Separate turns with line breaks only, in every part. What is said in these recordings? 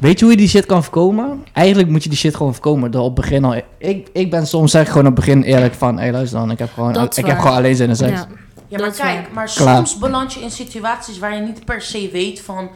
Weet je hoe je die shit kan voorkomen? Eigenlijk moet je die shit gewoon voorkomen door op het begin al... Ik, ik ben soms zeg ik gewoon op het begin eerlijk van... Hé, luister dan, ik heb gewoon,
Dat is
ik
waar.
heb gewoon alleen zin in seks.
Ja.
Ja, maar
Dat is
kijk, maar
Klaar.
soms beland je in situaties waar je niet per se weet van...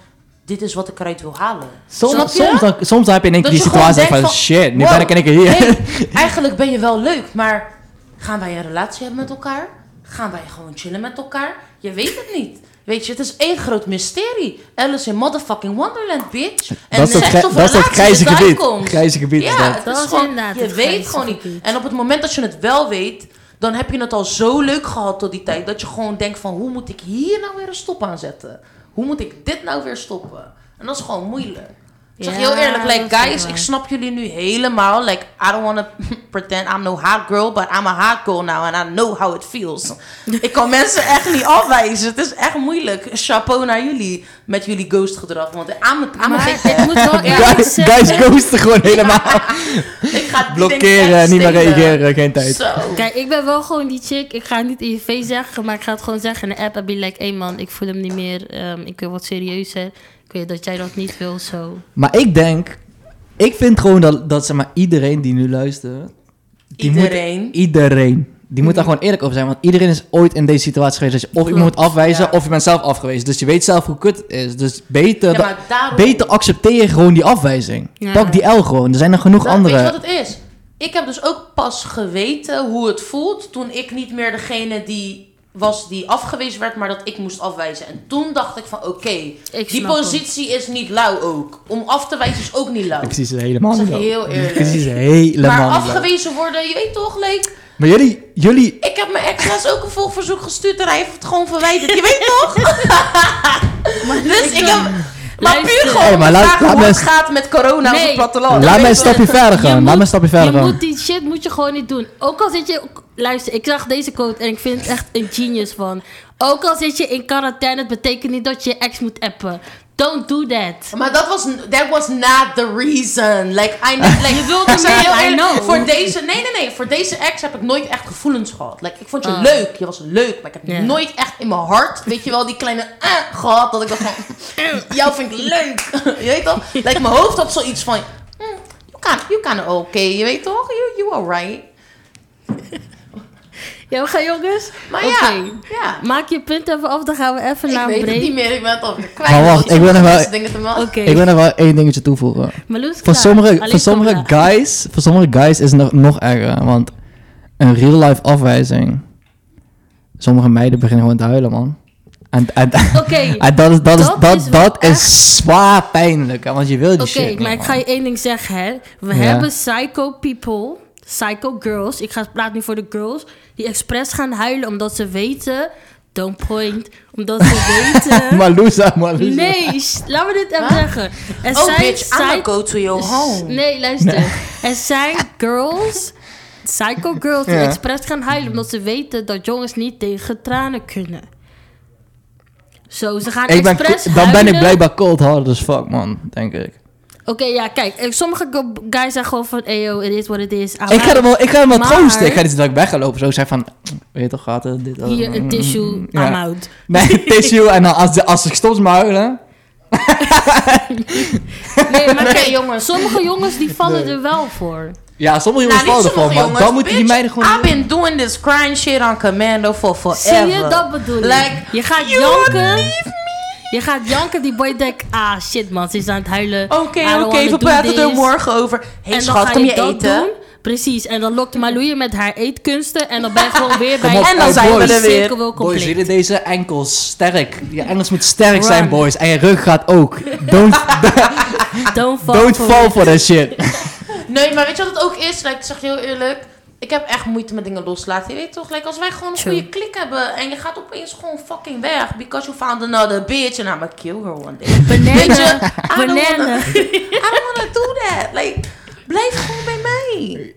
Dit is wat ik eruit wil halen. Snap
Soms,
je?
soms, dan, soms dan heb je in één keer
Dat
die
je gewoon
situatie van,
denkt van,
Shit, nu
wow,
ben ik in één keer hier.
hey, eigenlijk ben je wel leuk, maar gaan wij een relatie hebben met elkaar? Gaan wij gewoon chillen met elkaar? Je weet het niet. Weet je, het is één groot mysterie. Alice in motherfucking Wonderland, bitch. En
dat is dat,
seks
grij-
of
dat, is dat
relatie
grijze
eruit
gebied.
komt.
Grijze gebied is
Ja,
dat.
het
Dat
is
is
gewoon,
inderdaad
je
het
weet
grijze
gewoon niet.
gebied.
En op het moment dat je het wel weet, dan heb je het al zo leuk gehad tot die tijd. Dat je gewoon denkt van, hoe moet ik hier nou weer een stop aan zetten? Hoe moet ik dit nou weer stoppen? En dat is gewoon moeilijk. Ik zeg je heel
Ja,
eerlijk,
dat
like
is wel
guys,
waar.
ik snap jullie nu helemaal. Like, I don't want to pretend I'm no hot girl, but I'm a hot girl now and I know how it feels. ik kan mensen echt niet afwijzen. Het is echt moeilijk. Chapeau naar jullie met jullie ghost gedrag. Want I'm, a- I'm a
Ah, Maar
big
ik moet wel eerlijk
Guys, guys
zeggen...
ghosten gewoon helemaal.
Ik ga die dingen
Blokkeren,
echt
eh, niet meer
stelen.
reageren, geen tijd.
Zo.
Kijk, ik ben wel gewoon die chick. Ik ga het niet in je face zeggen, maar ik ga het gewoon zeggen in de app. En be like, hé man, ik voel hem niet meer. Ehm, ik wil wat serieuzer. Ik weet dat jij dat niet wil, zo.
Maar ik denk, ik vind gewoon dat, dat zeg maar, iedereen die nu luistert. Die
Iedereen.
Moet, iedereen. Die moet daar gewoon eerlijk over zijn. Want iedereen is ooit in deze situatie geweest. Dat je of iemand moet afwijzen,
ja.
of je bent zelf afgewezen. Dus je weet zelf hoe kut het is. Dus beter,
Ja, maar daarom-
beter accepteer gewoon die afwijzing.
Ja.
Pak die L gewoon. Er zijn er genoeg
Nou,
andere.
Weet je wat het is? Ik heb dus ook pas geweten hoe het voelt toen ik niet meer degene die was die afgewezen werd, maar dat ik moest afwijzen. En toen dacht ik van oké, die
snap
positie is niet lauw ook. Om af te wijzen is ook niet lauw.
Ik zie ze helemaal
zeg
niet.
je heel
zo.
eerlijk.
Ik zie ze helemaal
Maar
niet. zo.
afgewezen worden, je weet toch, leek.
Maar jullie, jullie,
Ik heb mijn ex ook een volgverzoek gestuurd en hij heeft het gewoon verwijderd. Je weet toch? dus ik heb... Maar
Luister.
puur gewoon
Hey, maar
om te
laat-
vragen
laat
hoe het
me-
gaat met corona op het
Nee.
laat
platteland. Ik
mij een
weet toch-
stapje verder gaan.
Je
laat mij een
moet-
stapje verder
je
gaan.
moet die shit moet je gewoon niet doen. Ook al zit je... Luister, ik zag deze quote en ik vind het echt een genius van. Ook al zit je in quarantaine, het betekent niet dat je je ex moet appen. Don't do that.
Maar dat was, that was not the reason. Like, I know, like, je
wilde me, I know.
Voor deze, nee, nee, nee. Voor deze ex heb ik nooit echt gevoelens gehad. Like, ik vond je
Ah.
leuk. Je was leuk. Maar ik heb
Ja.
nooit echt in mijn hart, weet je wel, die kleine eh gehad. Dat ik dacht van, mm, jou vind ik leuk. je weet toch? Like, mijn hoofd had zoiets van, hm, you kind you kinda okay. Je weet toch? You, you alright.
Ja, we gaan jongens.
Maar ja,
Oké.
ja.
Maak je punt even af, dan gaan we even naar
Ik
een
weet het
break.
niet meer. Ik ben het alweer kwijt.
Maar wacht,
want
ik wil nog wel-
mensen denken het wel.
Oké.
Ik wil nog wel één dingetje toevoegen.
Meloen is
Voor
klaar.
sommige,
Alleen
voor sommige
Cobra.
guys, voor sommige guys is het nog, nog erger. Want een real life afwijzing. Sommige meiden beginnen gewoon te huilen, man. En, en,
Oké.
en dat is, dat is,
Dat
dat,
is wel
dat
echt-
is zwaar pijnlijk, hè, want je wil die
Oké,
shit niet,
maar ik
man.
ga je één ding zeggen, hè. We
Ja.
hebben psycho people, psycho girls. Ik ga praten nu voor de girls. Die expres gaan huilen omdat ze weten... Don't point. Omdat ze weten...
Maluza, Maluza.
Nee, sh- laat me dit even zeggen. Er
Oh, bitch, I'm
psych-
gonna go to your home.
Nee, luister. Er zijn girls, psycho girls, die
Ja.
expres gaan huilen... omdat ze weten dat jongens niet tegen tranen kunnen. Zo, ze gaan
Ik ben,
expres
dan ben ik
huilen.
blijkbaar cold hard as fuck, man, denk ik.
Oké, ja, kijk. eh, Sommige go- guys zeggen gewoon van... Eyo, it is what it is. Ah,
Ik ga hem wel, ik ga hem wel
Maar-
troosten. Ik ga niet dat ik weggelopen. Zo zeg van, weet je toch, gaat het dit... dat-
Hier, een tissue.
Mm, Ja.
I'm out.
Nee, tissue. En dan als, als ik stop te huilen...
Nee, maar
Nee.
kijk, jongens. Sommige jongens die vallen er wel voor.
Ja, sommige
Nou,
jongens vallen
niet
ervan,
sommige
maar
jongens.
dan moeten die
bitch,
meiden gewoon...
I've been doing this crying shit on commando for
Oh,
forever.
Zie je, dat bedoel ik.
Like,
je gaat
you
janken. Je gaat janken, die boy denkt... Ah, shit man, ze is aan het huilen. I
Oké,
don't
oké,
wanna
we
do
praten er
this.
morgen over. Hé hey,
En dan
schat,
ga
kom
je
je
dat
eten?
doen. Precies, en dan lokt Malouie met haar eetkunsten... en dan ben je gewoon weer bij
op,
je
En dan
Oh,
zijn
boys.
we er weer.
cirkel wel
Boys,
compleet.
jullie deze enkels, sterk. Je engels moet sterk
Run.
zijn, boys. En je rug gaat ook. Don't,
Don't fall
don't
for
fall
it.
for that shit.
Nee, maar weet je wat het ook is? Like, ik zeg je heel eerlijk. Ik heb echt moeite met dingen loslaten. Je weet toch? Like, als wij gewoon een
True.
goede klik hebben en je gaat opeens gewoon fucking weg. Because you found another bitch and I'ma kill her one day. I
Bananen,
don't wanna,
bananen.
I don't wanna do that. Like, blijf gewoon bij mij.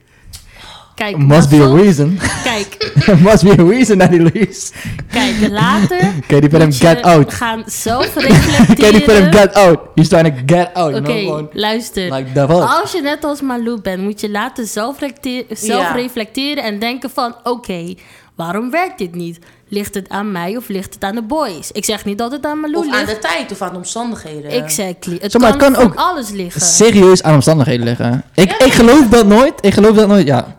Kijk,
Must be a
dat-
reason.
Kijk,
Must be a reason that he leaves.
Kijk, later.
Katy Perry,
moet je
get out.
gaan zelf reflecteren.
Katy Perry, get out. He's trying to get out. you
Oké,
know, gewoon.
luister.
Like the fuck.
Als je net als Malou bent, moet je later zelf, recte- zelf
Ja.
reflecteren en denken van... Oké, Waarom werkt dit niet? Ligt het aan mij of ligt het aan de boys? Ik zeg niet dat het aan Malou
Of aan
ligt.
de tijd of aan de omstandigheden.
Exactly. Het
Zeg maar,
kan,
het kan
van
ook
alles liggen.
Serieus aan omstandigheden liggen. Ik,
Ja.
ik geloof dat nooit. Ik geloof dat nooit, ja.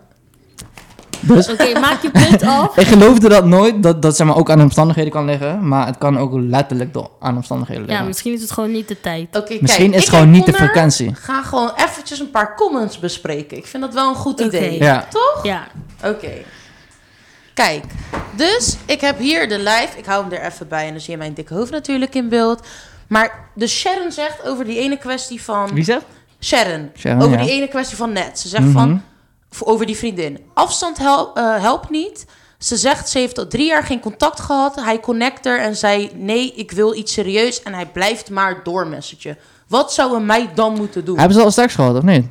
Dus
Oké, maak je punt af.
ik geloofde dat nooit, dat dat zeg maar, ook aan omstandigheden kan liggen. Maar het kan ook letterlijk door aan omstandigheden
Ja,
liggen.
misschien is het gewoon niet de tijd.
Oké, kijk,
Misschien is
ik
het gewoon
en
niet de
Connor
frequentie.
Gaan gewoon eventjes een paar comments bespreken. Ik vind dat wel een goed
Oké.
idee.
Ja.
Toch?
Ja,
Oké. Kijk, dus ik heb hier de live. Ik hou hem er even bij en dan zie je mijn dikke hoofd natuurlijk in beeld. Maar de Sharon zegt over die ene kwestie van...
Wie zegt?
Sharon,
Sharon,
over
ja. Mhm.
die ene kwestie van net. Ze zegt van, voor- over die vriendin. Afstand help, eh, helpt niet. Ze zegt, ze heeft al drie jaar geen contact gehad. Hij connect er en zei, nee, ik wil iets serieus. En hij blijft maar doormessagen. Wat zou een meid dan moeten doen?
Hebben ze al seks gehad of niet?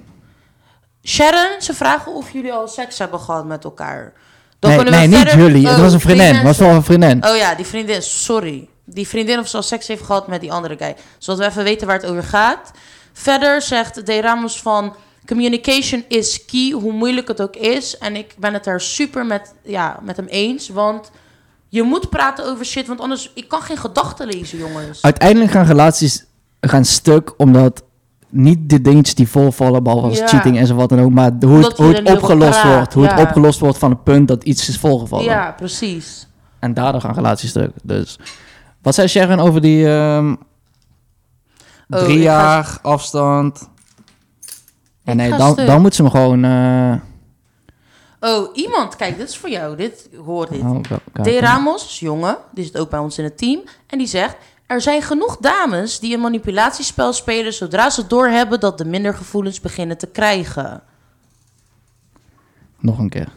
Sharon, ze vragen of jullie al seks hebben gehad met elkaar. Dan
nee,
kunnen we
nee niet
verder-
jullie. het
Oh,
was een vriendin. Het
mensen.
was wel een vriendin.
Oh ja, die vriendin, sorry. Die vriendin of ze al seks heeft gehad met die andere guy. Zodat we even weten waar het over gaat. Verder zegt De Ramos van... Communication is key, hoe moeilijk het ook is. En ik ben het daar super met, ja, met hem eens. Want je moet praten over shit, want anders... Ik kan geen gedachten lezen, jongens.
Uiteindelijk gaan relaties gaan stuk omdat niet de dingetjes die volvallen, behalve als
Ja.
cheating en zo wat dan ook, maar hoe
Omdat
het, hoe
je
het
er niet over
opgelost
praat,
wordt. Hoe
ja.
het opgelost wordt van het punt dat iets is volgevallen.
Ja, precies.
En daardoor gaan relaties stuk. Dus wat zei Sharon over die ehm,
Oh,
drie
ik ga-
jaar afstand? Ja,
Ik
nee,
ga
dan,
stuk.
dan moet ze hem gewoon. eh,
Oh, iemand, kijk, dit is voor jou. Dit, hoor dit.
oh, ka- ka-
De Ramos is jongen, die zit ook bij ons in het team. En die zegt: Er zijn genoeg dames die een manipulatiespel spelen zodra ze doorhebben dat de minder gevoelens beginnen te krijgen.
Nog een keer.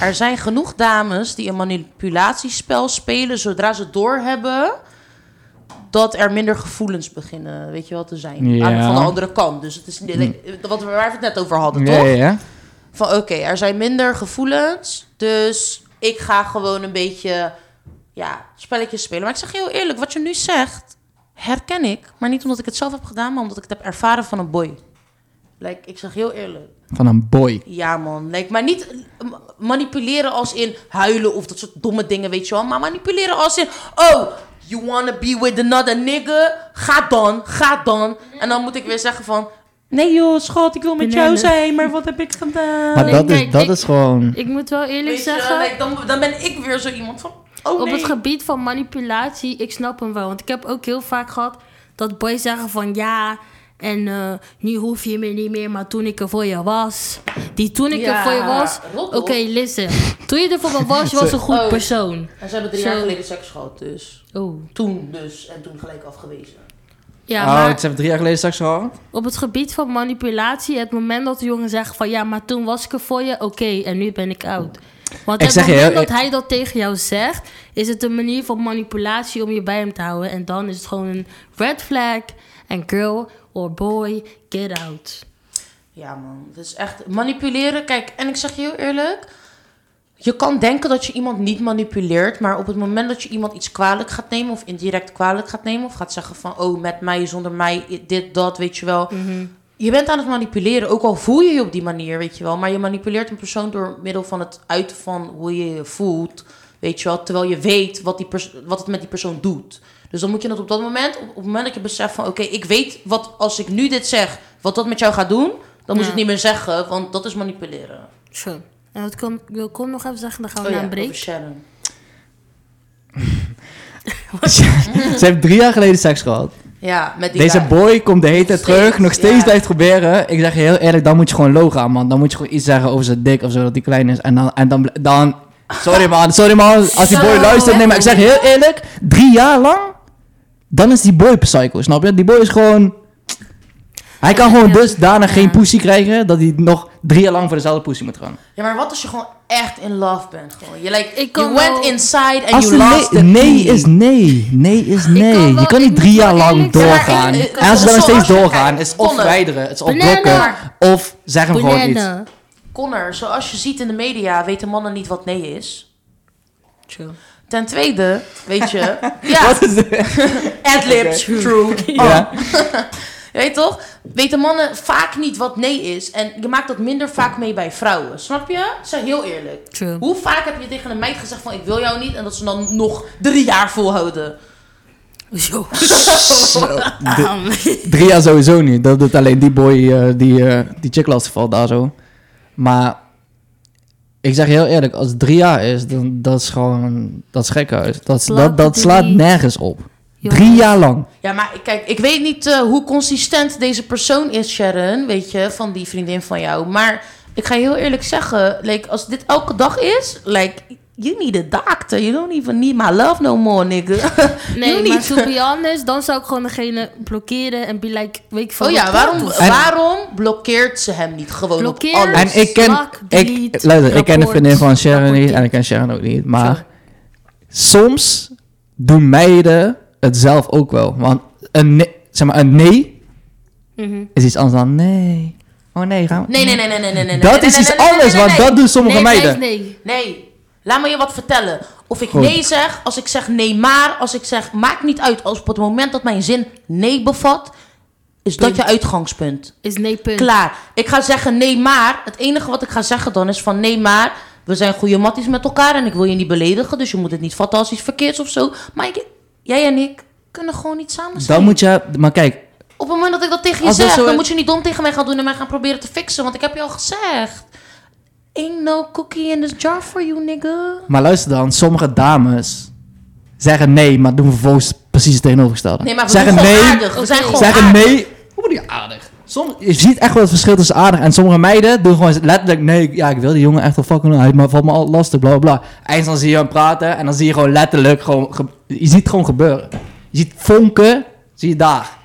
Er zijn genoeg dames die een manipulatiespel spelen zodra ze doorhebben dat er minder gevoelens beginnen, weet je wel, te zijn.
Ja. Mm.
Aan- Van de andere kant. Dus het is wat we, waar we het net over hadden,
Ja,
toch?
ja, ja.
Van oké, er zijn minder gevoelens. Dus ik ga gewoon een beetje ja, spelletjes spelen. Maar ik zeg je heel eerlijk, wat je nu zegt, herken ik. Maar niet omdat ik het zelf heb gedaan, maar omdat ik het heb ervaren van een boy. Like, ik zeg heel eerlijk.
Van een boy.
Ja, man. Like, maar niet eh, ma- manipuleren als in huilen of dat soort domme dingen, weet je wel. Maar manipuleren als in, oh, you wanna be with another nigga? Ga dan, ga dan. En dan moet ik weer zeggen van, nee joh, schat, ik wil met jou
Bananen.
zijn, maar wat heb ik gedaan?
Maar
Nee,
dat,
kijk,
is, dat
ik-
is gewoon.
ik moet wel eerlijk
Weet je,
zeggen...
like, dan, dan ben ik weer zo iemand van. Oh,
op
nee.
het gebied van manipulatie, ik snap hem wel. Want ik heb ook heel vaak gehad dat boys zeggen van ja. En eh, nu hoef je me niet meer, maar toen ik er voor je was. Die toen ik
Ja,
er voor je was.
rot op.
Oké, listen. Toen je er voor me was, je was een goed
Oh.
persoon.
En ze hebben drie
Zo.
jaar geleden seks gehad, dus.
Oh.
Toen dus, en toen gelijk afgewezen.
Ja,
oh,
maar
ze hebben drie jaar geleden seks gehad?
op het gebied van manipulatie, het moment dat de jongen zegt van ja, maar toen was ik er voor je, oké, en nu ben ik oud. Want
Ik
het
zeg je,
moment
hè,
dat
ik-
hij dat tegen jou zegt, is het een manier van manipulatie om je bij hem te houden. En dan is het gewoon een red flag. En girl or boy, get out.
Ja, man. Het is echt manipuleren. Kijk, en ik zeg je heel eerlijk. Je kan denken dat je iemand niet manipuleert, maar op het moment dat je iemand iets kwalijk gaat nemen of indirect kwalijk gaat nemen of gaat zeggen van oh met mij zonder mij dit dat weet je wel,
Mhm.
je bent aan het manipuleren. Ook al voel je je op die manier weet je wel, maar je manipuleert een persoon door middel van het uiten van hoe je je voelt, weet je wel, terwijl je weet wat die pers- wat het met die persoon doet. Dus dan moet je dat op dat moment, op, op het moment dat je beseft van oké, ik weet wat als ik nu dit zeg, wat dat met jou gaat doen, dan moet je
Ja.
het niet meer zeggen, want dat is manipuleren.
Zo. En wat kom, wil Kom nog even zeggen, dan gaan we
Oh
naar
ja,
een break.
over Sharon.
ze heeft drie jaar geleden seks gehad.
Ja, met die
Deze
guy.
boy komt de hele tijd
steeds,
terug, nog steeds
ja.
blijft proberen. Ik zeg je heel eerlijk, dan moet je gewoon logen aan, man. Dan moet je gewoon iets zeggen over zijn dik of zo, dat hij klein is. En dan, en dan, dan sorry man, sorry man, als die boy
Zo,
luistert. Nee, maar ik
hè?
zeg heel eerlijk, drie jaar lang, dan is die boy psycho, snap je? Die boy is gewoon... Hij kan gewoon dus daarna geen pussy krijgen, dat hij nog drie jaar lang voor dezelfde pussy moet gaan.
Ja, maar wat als je gewoon echt in love bent? Gewoon. Je like,
Ik kan
you went
wel-
inside and
Als
you
de
lost
nee,
the
nee
key.
is nee, nee is nee.
wel-
je kan
ik
niet drie
moet
jaar
wel
lang
eerlijk zijn.
doorgaan.
Ja, maar ik- ik-
en als ze dan nog
zoals
steeds
je kijkt,
doorgaan, is of
Connor.
verwijderen, het is of
Banana.
blokken, of zeg hem gewoon iets.
Banana.
Connor, zoals je ziet in de media, weten mannen niet wat nee is.
Chill.
Ten tweede, weet je... ja,
Wat is dit?
Oh. adlibs, true.
Ja.
Je weet toch? Weten mannen vaak niet wat nee is. En je maakt dat minder vaak mee bij vrouwen. Snap je? Zeg heel eerlijk.
True.
Hoe vaak heb je tegen een meid gezegd van ik wil jou niet. En dat ze dan nog drie jaar volhouden.
Zo.
Drie jaar sowieso niet. Dat doet alleen die boy, eh, die, eh, die chick lastig valt daar zo. Maar ik zeg je heel eerlijk, als het drie jaar is, dan dat is gewoon, dat is gekhuis. Dat, is- dat,
Slaat
dat
het
slaat
niet.
nergens op.
Jongens.
Drie jaar lang.
Ja, maar ik- kijk, ik weet niet eh, hoe consistent deze persoon is, Sharon. Weet je, van die vriendin van jou. Maar ik ga je heel eerlijk zeggen. Like, als dit elke dag is. Like, you need a doctor. You don't even need my love no more, nigga. You
Nee,
need-
maar to be honest, dan zou ik gewoon degene blokkeren en be like, weet ik veel
Oh
wat
ja,
doet
waarom,
of-
En-
waarom blokkeert ze hem niet gewoon
Blokkeer.
op alles?
Dus
En ik ken,
slak,
ik,
delete,
luister, ik ken de
rapport,
vriendin van Sharon niet en
rapporteer.
ik ken Sharon ook niet. Maar
Zo.
soms doen meiden het zelf ook wel. Want een nee, zeg maar, een nee
Mhm.
is iets anders dan nee. Oh nee, gaan we...
Nee, nee, nee, nee, nee, nee, nee.
Dat
nee,
is
nee,
iets
nee, nee,
anders,
nee,
want
nee,
dat doen sommige
nee,
meiden.
Nee, nee.
Nee, laat me je wat vertellen. Of ik
Goed.
nee zeg, als ik zeg nee maar, als ik zeg maakt niet uit. Als op het moment dat mijn zin nee bevat, is dat
Punt.
je uitgangspunt.
Is nee punt.
Klaar. Ik ga zeggen nee maar. Het enige wat ik ga zeggen dan is van nee maar. We zijn goede matties met elkaar en ik wil je niet beledigen. Dus je moet het niet vatten als iets verkeerds of zo. Maar ik- jij en ik kunnen gewoon niet samen zijn.
Dan moet je... Maar kijk,
Op het moment dat ik dat tegen je
Als dat
zeg,
zo
dan
is-
moet je niet dom tegen mij gaan doen en mij gaan proberen te fixen, want ik heb je al gezegd. Ain't no cookie in this jar for you, nigga.
Maar luister dan, sommige dames zeggen nee, maar doen vervolgens precies het tegenovergestelde.
Nee, maar we
zeggen
doen gewoon
nee,
aardig. We zijn
Oké.
gewoon
zeggen
aardig.
nee. Hoe bedoel je aardig? Soms, je ziet echt wel het verschil tussen aardig en sommige meiden doen gewoon letterlijk nee, ik- ja, ik wil die jongen echt wel fucking, hij ma- valt me al lastig, bla bla bla. Eindelijk dan zie je hem praten en dan zie je gewoon letterlijk gewoon, ge- je ziet het gewoon gebeuren. Je ziet vonken, zie je daar.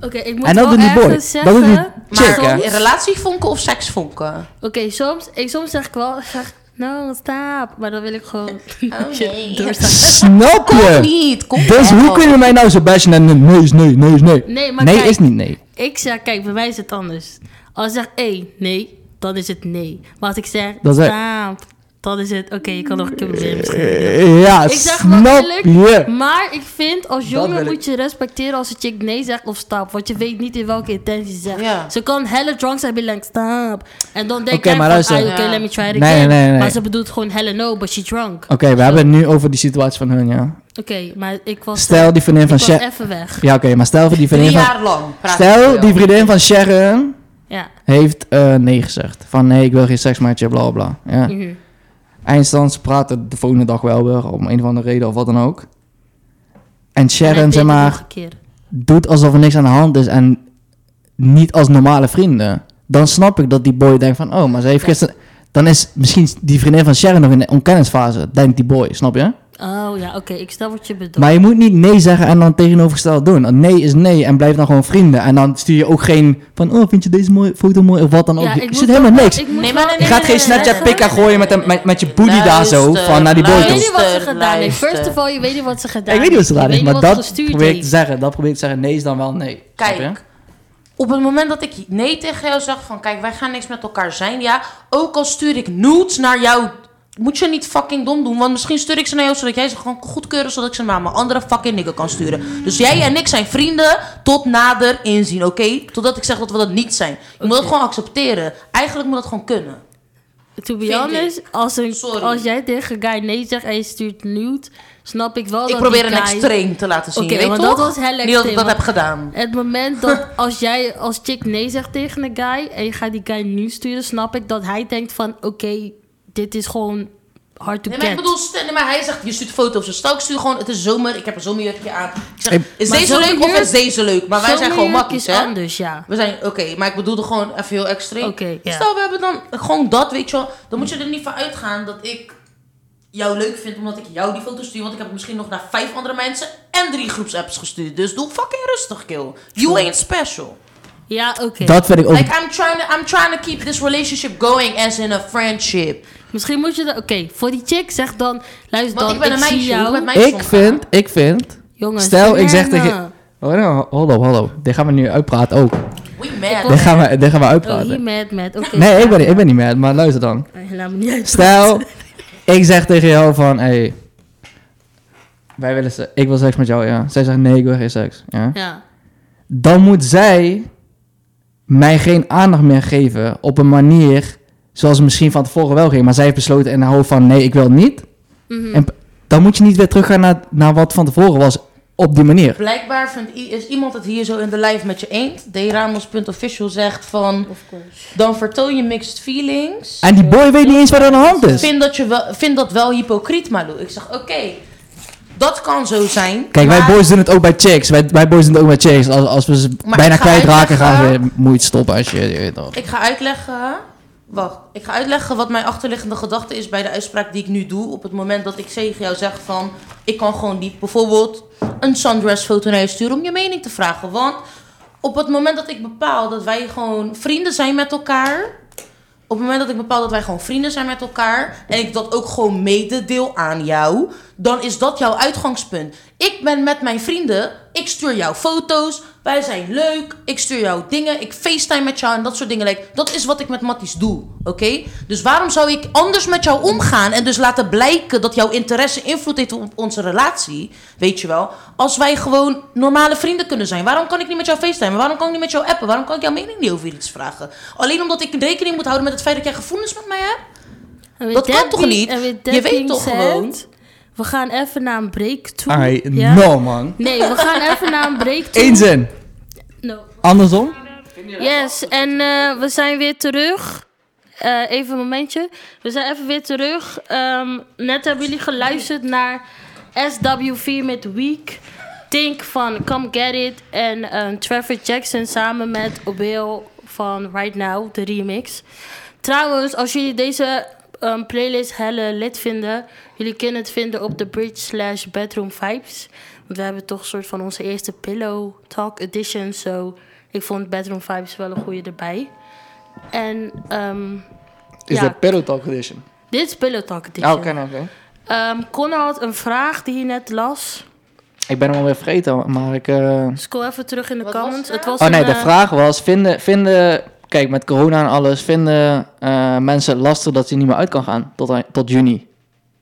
Oké, ik moet
en dat
wel
doet die boy.
ergens zeggen...
dat doet die chick,
Maar
hè.
soms-
relatievonken of seksvonken?
Oké, soms, ik, soms zeg ik wel, ik zeg, no, stop. Maar dan wil ik gewoon...
Oh,
nee.
doorstaan.
Snap
Kom
je?
niet, kom
Dus
wel.
hoe kun je mij nou zo bashen en nee is nee, nee is nee.
Oh. Nee, maar
nee
kijk.
is niet nee.
Ik zeg, kijk, bij mij is het anders. Als ik zeg, hé, nee, dan is het nee. Maar als ik zeg,
Dan zeg-
stop, dan is het, oké, je kan nog een keer proberen misschien.
Eh, Ja,
Ik zeg
snap
natuurlijk,
je.
maar ik vind als
wil
jongen
ik.
moet je respecteren als een chick nee zegt of stap. Want je weet niet in welke intentie ze zegt.
Ja.
Ze kan helle drunk zijn en be like, stap. En dan denk
Oké,
jij
maar
van,
luister.
ah, oké,
Ja.
let me try it
Nee,
again.
nee, nee.
Maar ze bedoelt gewoon helle no, but she drunk.
Oké, we hebben het nu over die situatie van hun, ja.
Oké, maar ik was,
Stel die vriendin
ik
van
was
Sharon.
even weg.
Ja, oké, maar stel voor die
Drie
vriendin van.
jaar lang praat ik
Stel
wel.
die vriendin van Sharon
Ja.
heeft eh, nee gezegd. Van nee, ik wil geen seks met je, bla bla. bla. Ja.
Mhm.
Eindstand, ze praten de volgende dag wel weer om een of andere reden of wat dan ook. En
En hij
Sharon,
deed
zeg
het
maar,
nog een keer.
doet alsof er niks aan de hand is en niet als normale vrienden. Dan snap ik dat die boy denkt van, oh, maar ze heeft gisteren... Dan is misschien die vriendin van Sharon nog in de onkennisfase, denkt die boy, snap je?
Oh ja, oké, ik stel wat je bedoelt.
Maar je moet niet nee zeggen en dan tegenovergesteld doen. Een Nee is nee en blijf dan gewoon vrienden. En dan stuur je ook geen van, oh, vind je deze mooie foto mooi of wat dan ook.
ja,
Je-
ik
je
moet
zit
wel-
helemaal niks.
ik moet
Nee,
wel-
maar nee,
Je gaat geen Snapchat pik aan gooien met, een, met, met je booty daar zo,
Luister,
van naar die boy
Ik
luister.
weet
toe.
niet wat ze
Luister,
gedaan heeft.
luister.
First of all, je weet niet wat ze gedaan
Ja, ik weet niet wat ze gedaan heeft,
heeft. Je
maar
weet niet wat
dat
ze gestuurd
probeer ik te
heeft.
zeggen. Dat probeer ik te zeggen, nee is dan wel nee. Snap je?
Kijk, op het moment dat ik nee tegen jou zeg van kijk, wij gaan niks met elkaar zijn, ja. Ook al stuur ik nudes naar jou, moet je niet fucking dom doen. Want misschien stuur ik ze naar jou zodat jij ze gewoon kan goedkeuren, zodat ik ze naar mijn andere fucking nigger kan sturen. Dus jij en ik zijn vrienden tot nader inzien, oké? Totdat ik zeg dat we dat niet zijn. Je moet dat gewoon accepteren. Eigenlijk moet dat gewoon kunnen.
To be
Vind
honest, als, een,
Sorry.
als jij tegen een guy nee zegt en je stuurt nude, snap ik wel
Ik
dat
probeer
die
een
guy-
extreem te laten zien,
Oké,
je weet
want
toch?
dat was heel
niet dat ik
extreem,
dat
want-
heb gedaan.
Het moment dat als jij als chick nee zegt tegen een guy en je gaat die guy nu sturen, snap ik dat hij denkt van oké, dit is gewoon hard to
Nee,
get.
maar ik bedoel, stel- nee, maar hij zegt, je stuurt foto's of zo. Ik stuur gewoon, het is zomer, ik heb een zomerjurkje aan. Ik zeg,
Ik-
is
Maar
deze leuk of
zomerjurk-
is deze leuk? Maar wij zijn gewoon
Zomerjurk
makkies,
is
hè?
anders, ja.
We zijn, oké, maar ik bedoelde gewoon even heel extreem.
Oké, ja.
Stel, we hebben dan gewoon dat, weet je wel. Dan moet je er niet van uitgaan dat ik jou leuk vind omdat ik jou die foto stuur. Want ik heb het misschien nog naar vijf andere mensen en drie groepsapps gestuurd. Dus doe fucking rustig, kill. You ain't special.
Ja, oké.
Dat vind ik
oh.
ook...
Like, I'm trying, to, I'm trying to keep this relationship going as in a friendship.
Misschien moet je dat... Oké, voor die chick zeg dan... Luister
Want
dan,
ik ben een
zie
meisje,
jou.
hoe met meisjes
Ik
omgaan?
vind, ik vind...
Jongens,
Stel, ik zeg
Rihanna.
tegen... Oh, nou, hallo, hallo. Dit gaan we nu uitpraten ook.
We
Dit
mad.
gaan we, dit gaan we
Oh,
uitpraten.
hier mad, mad. Oké.
Nee, ik ben, niet- ik ben niet mad, maar luister dan.
Eh, Laat me niet uit.
Stel, ik zeg tegen jou van, hé, hey, wij willen se- ik wil seks met jou, ja. Zij zegt, nee, ik wil geen seks, ja.
Ja.
dan moet zij mij geen aandacht meer geven op een manier zoals het misschien van tevoren wel ging. Maar zij heeft besloten in haar hoofd van nee, ik wil niet.
Mhm.
En dan moet je niet weer teruggaan naar, naar wat van tevoren was op die manier.
Blijkbaar vindt, i- is iemand het hier zo in de live met je eens. D. Ramos.official zegt van...
Of course.
Dan vertoon je mixed feelings.
En die boy weet niet eens wat er aan de hand is.
Vind dat, je wel, vind dat wel hypocriet, Malou. Ik zeg, oké, dat kan zo zijn.
Kijk, wij
maar-
boys doen het ook bij chicks. Wij, wij boys doen het ook bij chicks. Als, als we ze
Maar
bijna
ik ga
kwijtraken,
uitleggen-
gaan we moeite stoppen als je... je weet toch.
Ik ga uitleggen... Wacht, ik ga uitleggen wat mijn achterliggende gedachte is bij de uitspraak die ik nu doe. Op het moment dat ik tegen jou zeg van... Ik kan gewoon niet bijvoorbeeld een sundress foto naar je sturen om je mening te vragen. Want op het moment dat ik bepaal dat wij gewoon vrienden zijn met elkaar... Op het moment dat ik bepaal dat wij gewoon vrienden zijn met elkaar en ik dat ook gewoon mededeel aan jou, dan is dat jouw uitgangspunt. Ik ben met mijn vrienden, ik stuur jou foto's, wij zijn leuk, ik stuur jou dingen, ik facetime met jou en dat soort dingen. Like, dat is wat ik met Matties doe, oké? Dus waarom zou ik anders met jou omgaan en dus laten blijken dat jouw interesse invloed heeft op onze relatie, weet je wel? Als wij gewoon normale vrienden kunnen zijn, waarom kan ik niet met jou facetimen? Waarom kan ik niet met jou appen? Waarom kan ik jouw mening niet over iets vragen? Alleen omdat ik rekening moet houden met het feit dat jij gevoelens met mij hebt?
En with
Dat kan toch
being-
niet?
en with
Je
that
weet
being
toch
said,
gewoon?
We gaan even naar een break toe.
Ai,
ja?
no man.
Nee, we gaan even naar een break toe.
Eén zin.
No.
Andersom?
Yes, en eh, we zijn weer terug. Eh, even een momentje. We zijn even weer terug. Ehm, net hebben jullie geluisterd naar SW4 met Week. Think van Come Get It. En ehm, Trevor Jackson samen met Obeel van Right Now, de remix. Trouwens, als jullie deze ehm, playlist helle lid vinden... jullie kunnen het vinden op de bridge slash bedroom vibes. Want we hebben toch een soort van onze eerste pillow talk edition. So ik vond bedroom vibes wel een goede erbij. En ehm, ja,
Pillow Talk Edition.
dit is pillow talk edition.
Ah, oké.
Ehm, Connor had een vraag die hij net las.
Ik ben hem alweer vergeten, maar ik... eh,
Scroll even terug in de
Wat was
comments.
de
het was
Oh nee,
een,
de
eh,
vraag was, vinden, vinden, kijk met corona en alles, vinden eh, mensen het lastig dat ze niet meer uit kan gaan tot, aan- tot juni?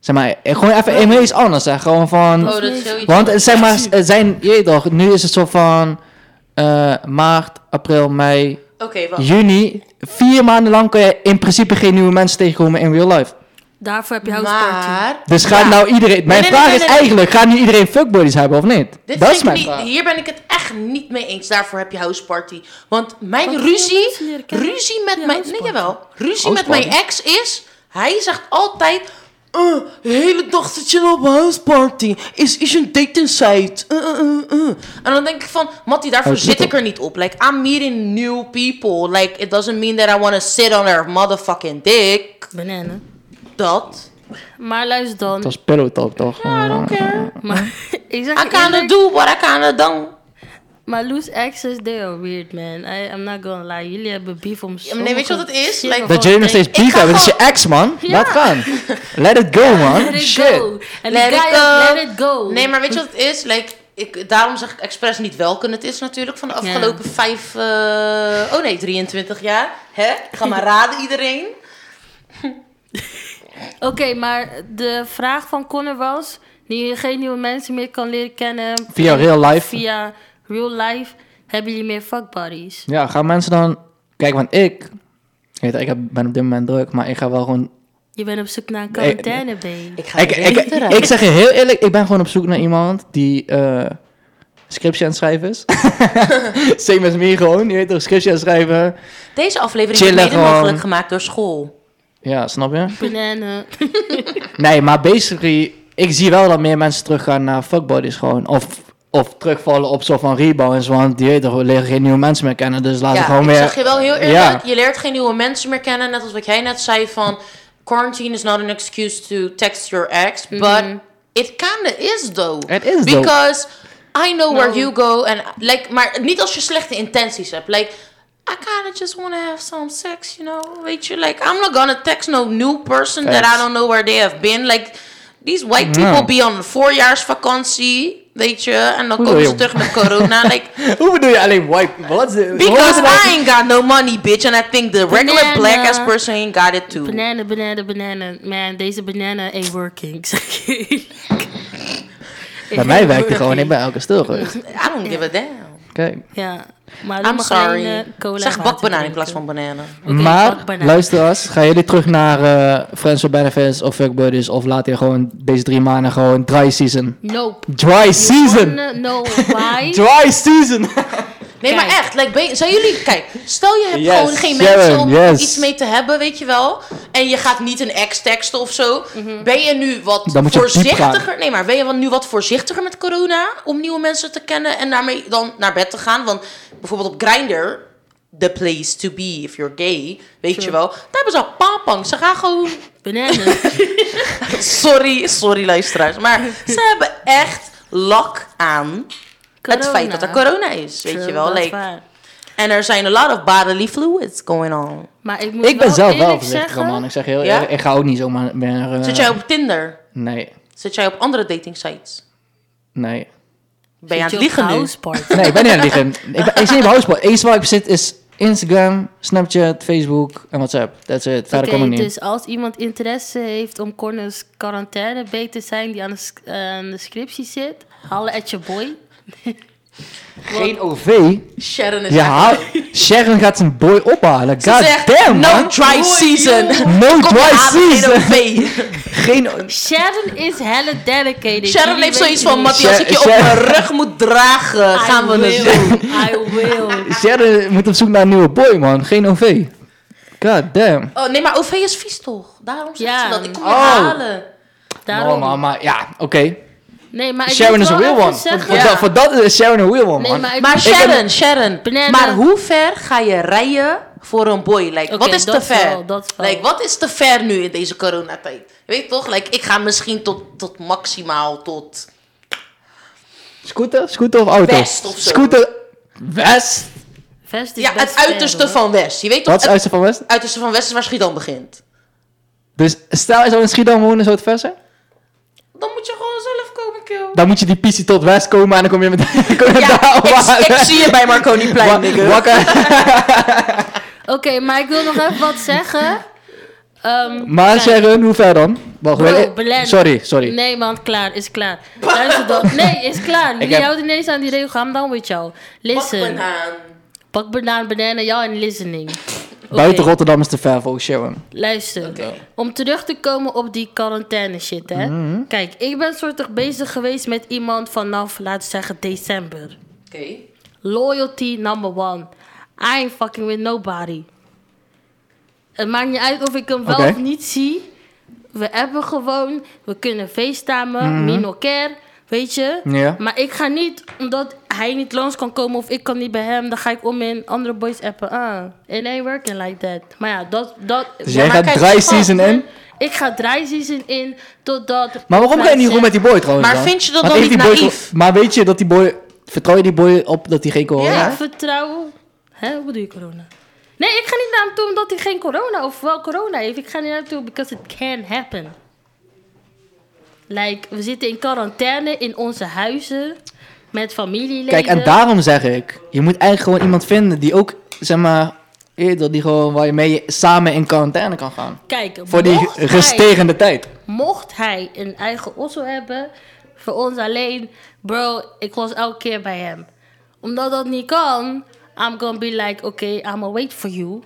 Zeg maar, eh, gewoon even even iets anders hè, gewoon van,
Oh, dat is
want eh, zeg maar, het zijn, je weet toch, nu is het zo van eh, maart, april, mei,
Oké, wacht.
juni, vier maanden lang kun je in principe geen nieuwe mensen tegenkomen in real life.
Daarvoor heb je houseparty.
Maar...
Dus gaat
Ja.
nou iedereen, mijn
nee,
vraag
nee,
is
nee, nee.
eigenlijk, gaat nu iedereen fuckbuddies hebben of niet?
Dit
dat
vind
is
ik
mijn
niet-
vraag.
hier ben ik het echt niet mee eens. Daarvoor heb je houseparty. Want mijn
Wat wil je
ruzie,
mensen leren kennen?
ruzie met
Ja,
mijn, nee
houseparty.
jawel, ruzie met
Houseparty?
mijn ex is, hij zegt altijd, eh, de hele dag zit je op houseparty. Is, is een dating site. Eh, eh, eh, eh." En dan denk ik van, Mattie, daarvoor
Oh,
zit
Twitter.
ik er niet op. Like, I'm meeting new people. Like, it doesn't mean that I want to sit on her motherfucking dick.
Banana.
Dat.
Maar luister dan.
Het was pillow talk toch?
I don't care.
Maar, ik zeg
I
je
kinda
eerlijk,
do what I kinda don't.
Maar loose exes, they are weird, man. I, I'm not gonna lie. Jullie hebben beef om
maar nee, weet je wat het is? Like-
Dat jullie nog steeds beef
ga
hebben, dat is je
gewoon-
ex, man.
Ja.
Laat gaan. Let it go, man.
Let it
Shit.
go. En die guy ook, let it go.
Nee, maar weet je wat het is? Like, ik, daarom zeg ik expres niet welke het is natuurlijk van de afgelopen vijf... eh, oh nee, 23 jaar. Hè? Ik ga maar raden iedereen.
Oké, maar de vraag van Connor was... die je geen nieuwe mensen meer kan leren kennen...
Via real life.
Via real life hebben jullie meer fuck buddies.
Ja, gaan mensen dan... Kijk, want ik... Weet, je, ik heb- ben op dit moment druk, maar ik ga wel gewoon...
Je bent op zoek naar een
Nee,
quarantaine, babe.
Ik ga
Ik,
iedereen
ik, ik,
niet raden.
zeg je heel eerlijk, ik ben gewoon op zoek naar iemand die eh, scriptie aan het schrijven is. Same as me gewoon, je weet toch, scriptie aan het schrijven.
Deze aflevering
Chillen
is mede
gewoon.
mogelijk gemaakt door school.
Ja, snap je?
Banana.
Nee, maar basically, ik zie wel dat meer mensen teruggaan naar fuckbodies gewoon. Of, of terugvallen op soort van rebounds, want die weet toch, we leren geen nieuwe mensen meer kennen, dus laten we
Ja,
gewoon
ik
weer...
zeg je wel heel eerlijk.
Ja.
Je leert geen nieuwe mensen meer kennen. Net als wat jij net zei van... Quarantine is not an excuse to text your ex. But it kinda is though.
Het is dope.
Because I know where
No.
you go. And like, maar niet als je slechte intenties hebt. Like, I kinda just wanna have some sex, you know? Weet je, like, I'm not gonna text no new person that
Facts. Mm-hmm.
I don't know where they have been. Like, these white
Ja.
people be on voorjaarsvakantie, weet je? En dan komen
bedoel
ze
je?
terug met corona. like,
Hoe bedoel je alleen white? Wat is dit?
because I ain't got no money, bitch. And I think the regular
Banana.
black ass person ain't got it too.
Banana, banana, banana. Man, deze banana ain't working. Zeg je eerlijk.
Bij mij werkt het gewoon, ik ben elke stil geweest.
I don't give a damn.
Ja, maar alleen
I'm
maar
sorry.
geen, eh, cola en
zeg
water
bakbanaan
drinken.
in plaats van bananen.
Oké,
maar,
bakbanaan.
luisteraars, gaan jullie terug naar eh, Friends with Benefits of Fuck Buddies? Of laat je gewoon deze drie maanden gewoon dry season?
Nope.
Dry season!
Wanna know
eh,
why?
Dry season!
Nee,
Kijk.
maar echt, like, ben je- zijn jullie... Kijk, stel je hebt
Yes,
gewoon geen
Sharon,
mensen om
yes.
iets mee te hebben, weet je wel. En je gaat niet een ex teksten of zo. Ben je nu wat
Mhm. Dan moet je diep
voorzichtiger... Nee, maar ben je wel nu wat voorzichtiger met corona? Om nieuwe mensen te kennen en daarmee dan naar bed te gaan? Want bijvoorbeeld op Grindr... The place to be if you're gay. Weet je wel. Daar hebben ze al papang. Ze gaan gewoon...
Bananen.
Sorry, sorry luisteraars. Maar ze hebben echt lak aan... Het feit dat er corona is, weet
True,
je wel.
dat is
Like,
waar.
En er zijn a lot of bodily fluids going on.
Maar ik moet
Ik ben zelf wel
eerlijk
voorzichtig,
zeggen...
man. Ik zeg heel
Ja?
eerlijk, ik ga ook niet zomaar meer... eh,
Zit jij op Tinder?
Nee,
Zit jij op andere dating sites?
nee.
Ben je aan
Zit
het
je op
liegen nu?
house party?
Nee, ik ben niet aan het liegen. Ik, ben, ik zit niet op houseboy. Het enige waar ik op zit is Instagram, Snapchat, Facebook en WhatsApp. That's it. Verder
Oké,
kom ik niet.
dus als iemand interesse heeft om Corners quarantaine beter te zijn die aan de, sc- eh, aan de scriptie zit, haal at je boy.
Geen OV.
Sharon is
Ja, haar- Sharon gaat zijn boy ophalen. God
Ze zegt,
damn,
no
man.
dry season.
No
Kom
dry
maar aan, geen
season.
OV.
Geen...
Sharon is helle dedicated.
Sharon
Jullie
heeft zoiets
weten
van,
niet.
Mattie, als ik je op
Sharon-
mijn rug moet dragen, gaan we
I
het doen.
will. I will.
Sharon moet op zoek naar een nieuwe boy, man. Geen OV. God damn.
Oh, nee, maar OV is vies toch? Daarom zegt
Ja.
ze dat. Ik kom je
Oh.
halen.
Oh,
Daarom.
man, maar ja, oké.
Nee, maar ik
Sharon
moet
is een real
wel even
one. Voor,
zeggen-
voor dat, voor dat is Sharon een real one,
Nee,
man.
maar, ik-
Maar
ik-
Sharon, Sharon,
Banana.
maar hoe ver ga je rijden voor een boy? Like,
Oké,
wat is
dat
te ver?
wel, dat wel.
Like, wat is te ver nu in deze coronatijd? Weet je toch? Like, ik ga misschien tot, tot maximaal tot...
Scooter? Scooter of auto?
West of zo.
Scooter. West?
Vest is
Ja,
best
het
ver,
uiterste
hoor.
van West. Je weet toch,
Wat is
het
Uiterste van West?
uiterste van West is waar Schiedam begint.
Dus stel je zou in Schiedam wonen, zou het ver zijn?
Dan moet je gewoon zelf komen, kill.
Dan moet je die pissie tot West komen en dan kom je met... kom je
Ja,
daar
ik, ik
ophalen.
zie je bij
Nou, Wa-
Marconiplein, nigga.
Wakker.
Oké, maar ik wil nog even wat zeggen. Ehm,
Maar
kijk.
Sharon, hoe ver dan? Wacht,
Bro,
wil-
Belen.
Sorry, sorry.
Nee man, klaar, is klaar. Luister dan. Nee, is klaar. Jullie
heb-
houden ineens aan die regel. I'm down with jou. Listen.
Bakbanaan.
Pak banaan, banana, jou en listening.
Buiten
Oké,
Rotterdam is te ver volgens Sharon.
Luister. Om terug te komen op die quarantaine shit, hè. Kijk, ik ben soortig bezig geweest met iemand vanaf, laten we zeggen, december.
Oké.
Loyalty number one. I ain't fucking with nobody. Het maakt niet uit of ik hem wel
Oké.
of niet zie. We hebben gewoon, we kunnen facetimen, me no care, weet je.
Mhm. Ja.
Maar ik ga niet, omdat hij niet langs kan komen of ik kan niet bij hem, dan ga ik om in andere boys appen. Ah, it ain't working like that. Maar ja, dat... dat
Dus
ja,
jij
maar
gaat
kijk,
oh,
dry season in?
Ik ga dry season in totdat...
Maar waarom ga je niet
mensen-
rond met die boy trouwens
Maar
dan?
vind je dat
Want
dan
heeft
niet
die boy
naïef?
toch- Maar weet je dat die boy... Vertrouw je die boy op dat hij geen corona
Ja,
heeft?
ik vertrouw. Hè, hoe bedoel je corona? Nee, ik ga niet naar hem toe omdat hij geen corona of wel corona heeft. Ik ga niet naar hem toe because it can happen. Like, we zitten in quarantaine in onze huizen met familieleden.
Kijk, en daarom zeg ik... Je moet eigenlijk gewoon iemand vinden die ook, zeg maar... Eerder, die gewoon waar je mee samen in quarantaine kan gaan.
Kijk,
Voor die
mocht hij-
resterende tijd.
mocht hij een eigen osso hebben, voor ons alleen, bro, ik was elke keer bij hem. Omdat dat niet kan, I'm gonna be like, oké, I'm gonna wait for you.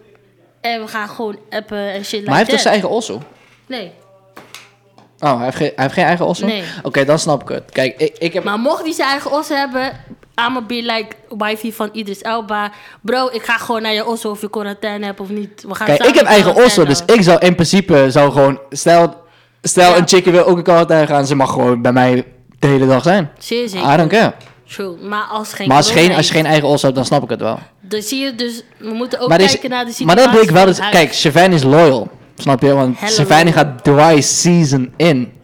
En we gaan gewoon appen en shit like
Maar hij heeft toch
that.
zijn eigen osso?
Nee.
Oh, hij heeft geen, hij heeft geen eigen osso?
Nee.
Oké, dan snap ik het. Kijk, ik, ik heb...
Maar mocht hij zijn eigen os hebben, I'ma be like wifey van Idris Elba. Bro, ik ga gewoon naar je os of je quarantaine hebt of niet. We gaan
Kijk,
samen
ik heb eigen osso,
quarantaine.
dus ik zou in principe zou gewoon... Stel, stel
Ja.
een chickie wil ook een quarantaine gaan, ze mag gewoon bij mij de hele dag zijn.
Zeer
I
zeker.
don't care.
True. Maar als geen
Maar als,
corona
geen, als je
is,
geen eigen os hebt, dan snap ik het wel.
Dan zie je dus, we moeten ook
maar,
kijken
deze-
naar de situatie
maar dat bedoel ik wel.
van
Dat,
het
kijk,
huis.
Sylvain is loyal. Snap je? Want
Hello.
Sylvain gaat dry season in.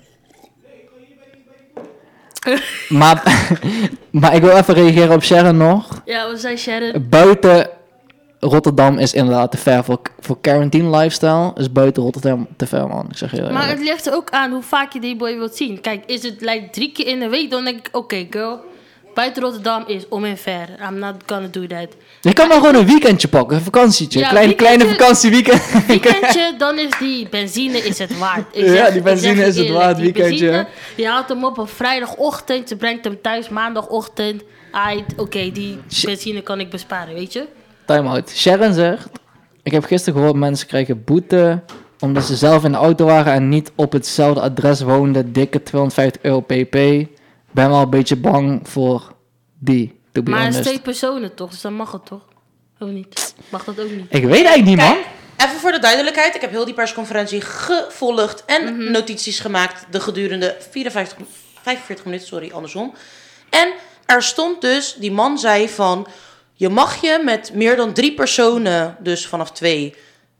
maar, maar ik wil even reageren op Sharon nog.
Ja, we zijn
Eh,
Sharon.
Buiten Rotterdam is inderdaad te ver. Voor, voor quarantine lifestyle is buiten Rotterdam te ver, man. Ik zeg je
Maar het ligt er ook aan hoe vaak je die boy wilt zien. Kijk, is het like drie keer in de week, dan denk ik, oké girl. buiten Rotterdam is om en ver. I'm not gonna do that.
Je kan dan gewoon een weekendje pakken, een vakantietje.
Ja,
een kleine,
weekendje-
kleine vakantieweekend.
Weekendje, dan is die benzine is het waard. Ik
Ja,
zeg-
die
ik
benzine
zeg je
is het
eerlijk,
waard,
die
weekendje.
benzine, je haalt hem op op vrijdagochtend, je brengt hem thuis maandagochtend. Aight, Oké, die
Shit.
benzine kan ik besparen, weet je?
Time out. Sharon zegt: Ik heb gisteren gehoord mensen krijgen boete omdat ze zelf in de auto waren en niet op hetzelfde adres woonden. Dikke 250 euro pp. Ben wel een beetje bang voor die. To be
Maar het is
honest.
twee personen toch, dus dan mag het toch? Of niet? Mag dat ook niet?
Ik weet eigenlijk niet, man.
Kijk, even voor de duidelijkheid. Ik heb heel die persconferentie gevolgd en notities gemaakt de gedurende 54, 45 minuten, sorry, andersom. En er stond dus, die man zei van, je mag je met meer dan drie personen, dus vanaf twee,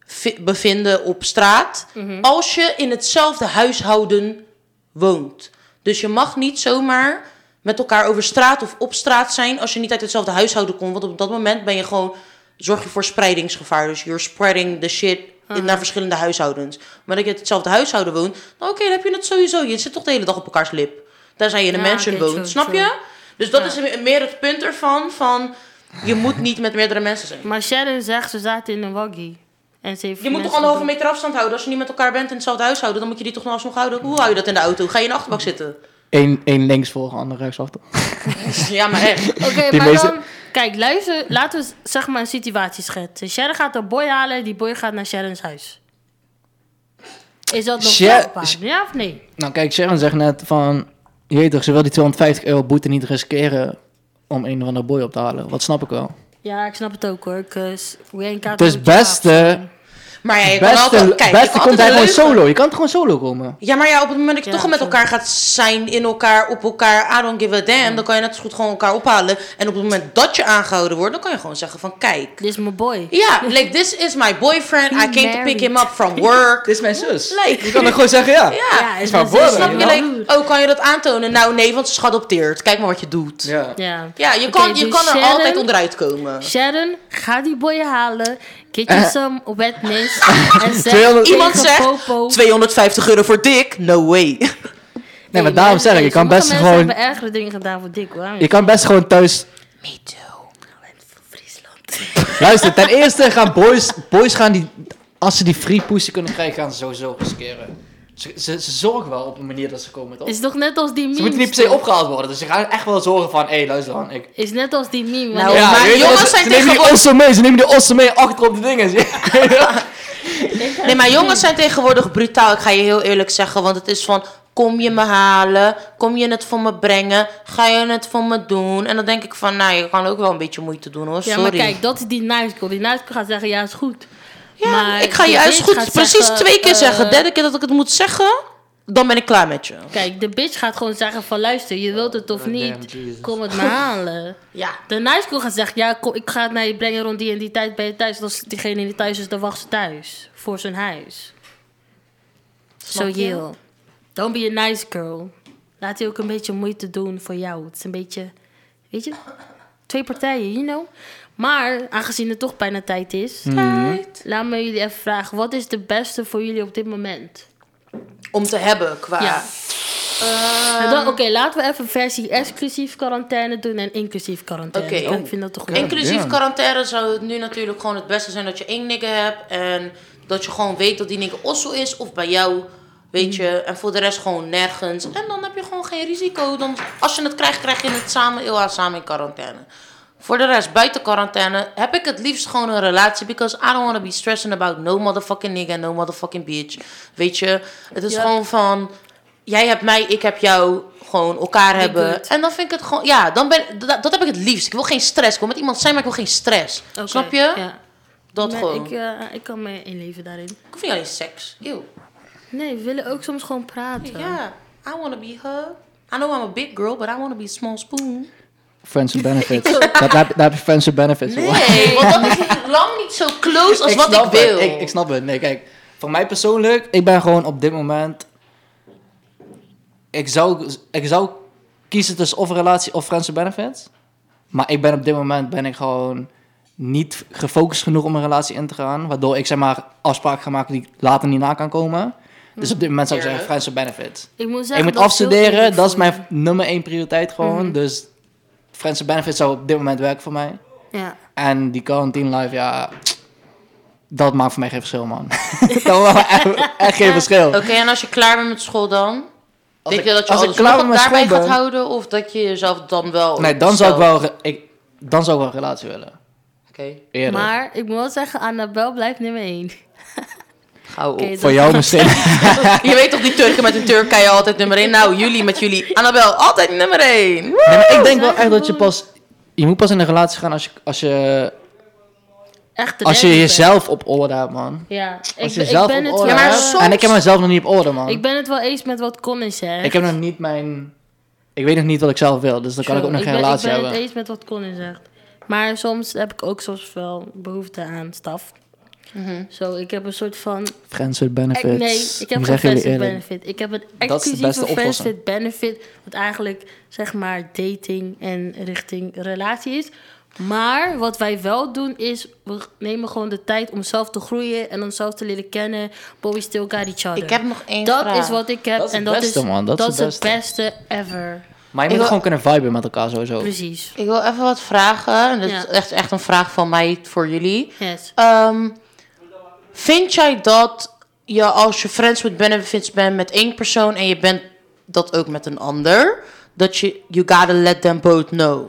vi- bevinden op straat.
Mhm.
Als je in hetzelfde huishouden woont. Dus je mag niet zomaar met elkaar over straat of op straat zijn als je niet uit hetzelfde huishouden komt. Want op dat moment ben je gewoon, zorg je voor spreidingsgevaar. Dus you're spreading the shit in naar verschillende huishoudens. Maar dat je uit hetzelfde huishouden woont, nou oké, dan heb je het sowieso. Je zit toch de hele dag op elkaars lip. Tenzij je in een
Ja,
mansion
oké,
woont,
true,
snap
true.
je? Dus dat
Ja.
is meer het punt ervan, van je moet niet met meerdere mensen zijn.
Maar Sharon zegt, ze zaten in een waggie. En ze heeft
Je moet
mensen
toch anderhalve
gedood.
meter afstand houden. Als je niet met elkaar bent in hetzelfde huishouden, dan moet je die toch nog afstand houden. Hoe hou je dat in de auto? Ga je in de achterbak zitten?
Eén, één links voor, ander rechts achter.
Ja, maar echt.
Oké,
Die
maar
meeste-
dan... Kijk, luister, laten we s- zeg maar een situatie schetsen. Sharon gaat een boy halen, die boy gaat naar Sharon's huis. Is dat nog
Sha-
strafbaar?
Sh-
Ja of nee?
Nou, kijk, Sharon zegt net van. Je weet toch, ze wil die 250 euro boete niet riskeren om een of andere boy op te halen. Wat snap ik wel.
Ja, ik snap het ook hoor. Dus
Het is eh, beste.
Maar ja, je kan
Beste,
altijd... Kijk, je
beste
kan
komt hij
altijd
gewoon
leugen.
solo. Je kan het gewoon solo komen.
Ja, maar ja, op het moment dat je
Ja,
toch al met
true.
elkaar gaat zijn, in elkaar, op elkaar, I don't give a damn, dan kan je net zo goed gewoon elkaar ophalen. En op het moment dat je aangehouden wordt, dan kan je gewoon zeggen van, kijk.
Dit is mijn boy.
Ja, like, this is my boyfriend, I came to pick him up from work.
Dit is mijn zus.
Like,
Je kan dan gewoon zeggen, ja.
ja.
Ja, is
maar
mijn zus,
boy,
Snap je,
wel.
like, oh, kan je dat aantonen? Nou, nee, want ze is geadopteerd. Kijk maar wat je doet. Ja,
Ja.
Ja.
je
Oké,
kan, je
dus
kan er
Sharon-
altijd onderuit komen.
Sharon, ga die boy halen. Get you
Eh.
some wetness. en zeg
200
tegen
Iemand zegt,
Popo.
250 euro voor dik? No way.
Nee, maar daarom zeg ik, je kan best
Sommige mensen
gewoon...
hebben ergere dingen gedaan voor Dick, hoor.
Je kan best gewoon thuis...
Me too.
Friesland.
Luister, ten eerste gaan boys... Boys gaan die... Als ze die free pussy kunnen krijgen, gaan ze sowieso riskeren. Ze, ze, ze zorgen wel op een manier dat ze komen, toch?
Is toch net als die meme?
Ze moeten niet per se opgehaald worden. Dus ze gaan echt wel zorgen van... Hé, luister dan, ik...
Is net als die meme.
Nou,
wanneer-
Ja,
je
maar
weet wel,
jongens
ze-
zijn
ze nemen die
tegenwoordig-
ossen mee. Ze nemen die ossen mee achter op de dingen.
Nee, maar jongens zijn tegenwoordig brutaal. Ik ga je heel eerlijk zeggen. Want het is van, kom je me halen? Kom je het voor me brengen? Ga je het voor me doen? En dan denk ik van, nou, je kan ook wel een beetje moeite doen hoor.
Ja,
Sorry.
maar kijk, dat is die nice girl. Die nice girl gaat zeggen, ja, is goed.
Ja,
maar
ik ga je
de
juist
bitch
goed
gaat
precies
zeggen,
twee keer
eh,
zeggen. Derde keer dat ik het moet zeggen, dan ben ik klaar met je.
Kijk, de bitch gaat gewoon zeggen van, luister, je wilt het of
Oh,
Goddamn,
niet.
Jesus.
Kom het maar halen.
Ja.
De nice girl gaat zeggen, ja, kom, ik ga het naar je brengen rond die en die tijd ben je thuis. En Als diegene die thuis is, dan wacht ze thuis. Voor zijn huis. Zo
Snap je?
Jill. Don't be a nice girl. Laat je ook een beetje moeite doen voor jou. Het is een beetje, weet je, twee partijen, you know. Maar, aangezien het toch bijna tijd is,
Hm.
laat me jullie even vragen. Wat is de beste voor jullie op dit moment?
Om te hebben qua...
Ja.
Eh,
Nou, dan- Oké, laten we even versie exclusief quarantaine doen en inclusief quarantaine.
Oké,
Ik
oh.
vind dat toch leuk.
Inclusief
damn.
quarantaine zou het nu natuurlijk gewoon het beste zijn dat je één nigger hebt. En dat je gewoon weet dat die nigger osso is of bij jou. Weet je, en voor de rest gewoon nergens. En dan heb je gewoon geen risico. Dan, als je het krijgt, krijg je het samen, heel hard samen in quarantaine. Voor de rest, buiten quarantaine, heb ik het liefst gewoon een relatie. Because I don't want to be stressing about no motherfucking nigga, no motherfucking bitch. Weet je, het is
Ja.
gewoon van, jij hebt mij, ik heb jou. Gewoon elkaar hebben.
good.
En dan vind ik het gewoon, ja, dan ben, dat, dat heb ik het liefst. Ik wil geen stress. Ik wil met iemand zijn, maar ik wil geen stress.
Oké,
Snap je?
Ja.
Dat
Maar
gewoon.
Ik, eh, ik kan me inleven daarin.
Ik hoef niet alleen seks. Eeuw.
Nee, we willen ook soms gewoon praten.
Ja, I want to be hugged. I know I'm a big girl, but I want to be a small spoon.
Friends with benefits. dat, daar, heb- daar heb je friends with benefits voor.
Nee, want dat is lang niet zo close als wat
snap
ik wil.
Het. Ik, ik snap het. Nee, kijk. Voor mij persoonlijk, ik ben gewoon op dit moment... Ik zou, ik zou kiezen tussen of een relatie of friends with benefits. Maar ik ben op dit moment ben ik gewoon niet gefocust genoeg om een relatie in te gaan. Waardoor ik zeg maar afspraken ga maken die ik later niet na kan komen. Dus op dit moment zou ik zeggen friends with benefits.
Ik moet zeggen,
Ik moet
dat is heel
afstuderen,
eerlijk
dat is
voor je.
Mhm.
mijn nummer één prioriteit gewoon. Dus Friends with Benefits zou op dit moment werken voor mij.
Ja.
En die quarantine life, ja... Dat maakt voor mij geen verschil, man. dat maakt echt, echt geen verschil.
Oké, en als je klaar bent met school dan?
Als
denk
ik-
je dat je
als ik
alles
klaar
nog
ben met
daarbij
school
gaat
ben-
houden? Of dat je jezelf dan wel...
Nee, dan zou ik
stelt?
wel, ge- ik, dan zou ik wel een relatie willen.
Oké,
Eerder.
Maar ik moet wel zeggen, Annabel blijft nummer 1.
gauw op.
Oké, dat-
Voor jou misschien.
Je weet toch, die Turken met de Turkije altijd nummer 1? Nou, jullie met jullie. Annabel, altijd nummer 1.
Nee, maar ik denk wel echt dat je pas... Je moet pas in een relatie gaan als je, als je,
Echt
als je
ready
jezelf op orde hebt, man.
bent. Ja, ik,
Als
ben-
je
ik
zelf
ben
op
het
orde
wel...
maar
hebt.
soms-
En ik heb mezelf nog niet op orde, man.
Ik ben het wel eens met wat Colin zegt.
Ik heb nog niet mijn... Ik weet nog niet wat ik zelf wil, dus dan kan ik ook nog geen
ben,
relatie
ik ben
hebben.
het eens met wat Colin zegt. Maar soms heb ik ook soms wel behoefte aan staf. Zo, ik heb een soort van...
Friends with
Ik-
benefits.
nee, ik heb
Ik
geen
zeg jullie
friends with
eerlijk.
benefit. Ik heb een
Dat is de beste
exclusieve friends
oplossing.
with benefit. Wat eigenlijk, zeg maar, dating en richting relatie is. Maar wat wij wel doen is... We nemen gewoon de tijd om zelf te groeien... en onszelf te leren kennen. But we still got each other.
Ik heb nog één
dat
vraag.
is wat ik heb.
Dat is
en
het
dat
beste,
is,
man. Dat is het
beste ever.
Maar je
Ik
moet
wil-
gewoon kunnen viben met elkaar sowieso.
Precies.
Ik wil even wat vragen. En Dat
Ja.
is echt, echt een vraag van mij voor jullie.
Yes.
Ehm, vind jij dat je als je friends with benefits bent met één persoon... en je bent dat ook met een ander... dat je you gotta let them both know?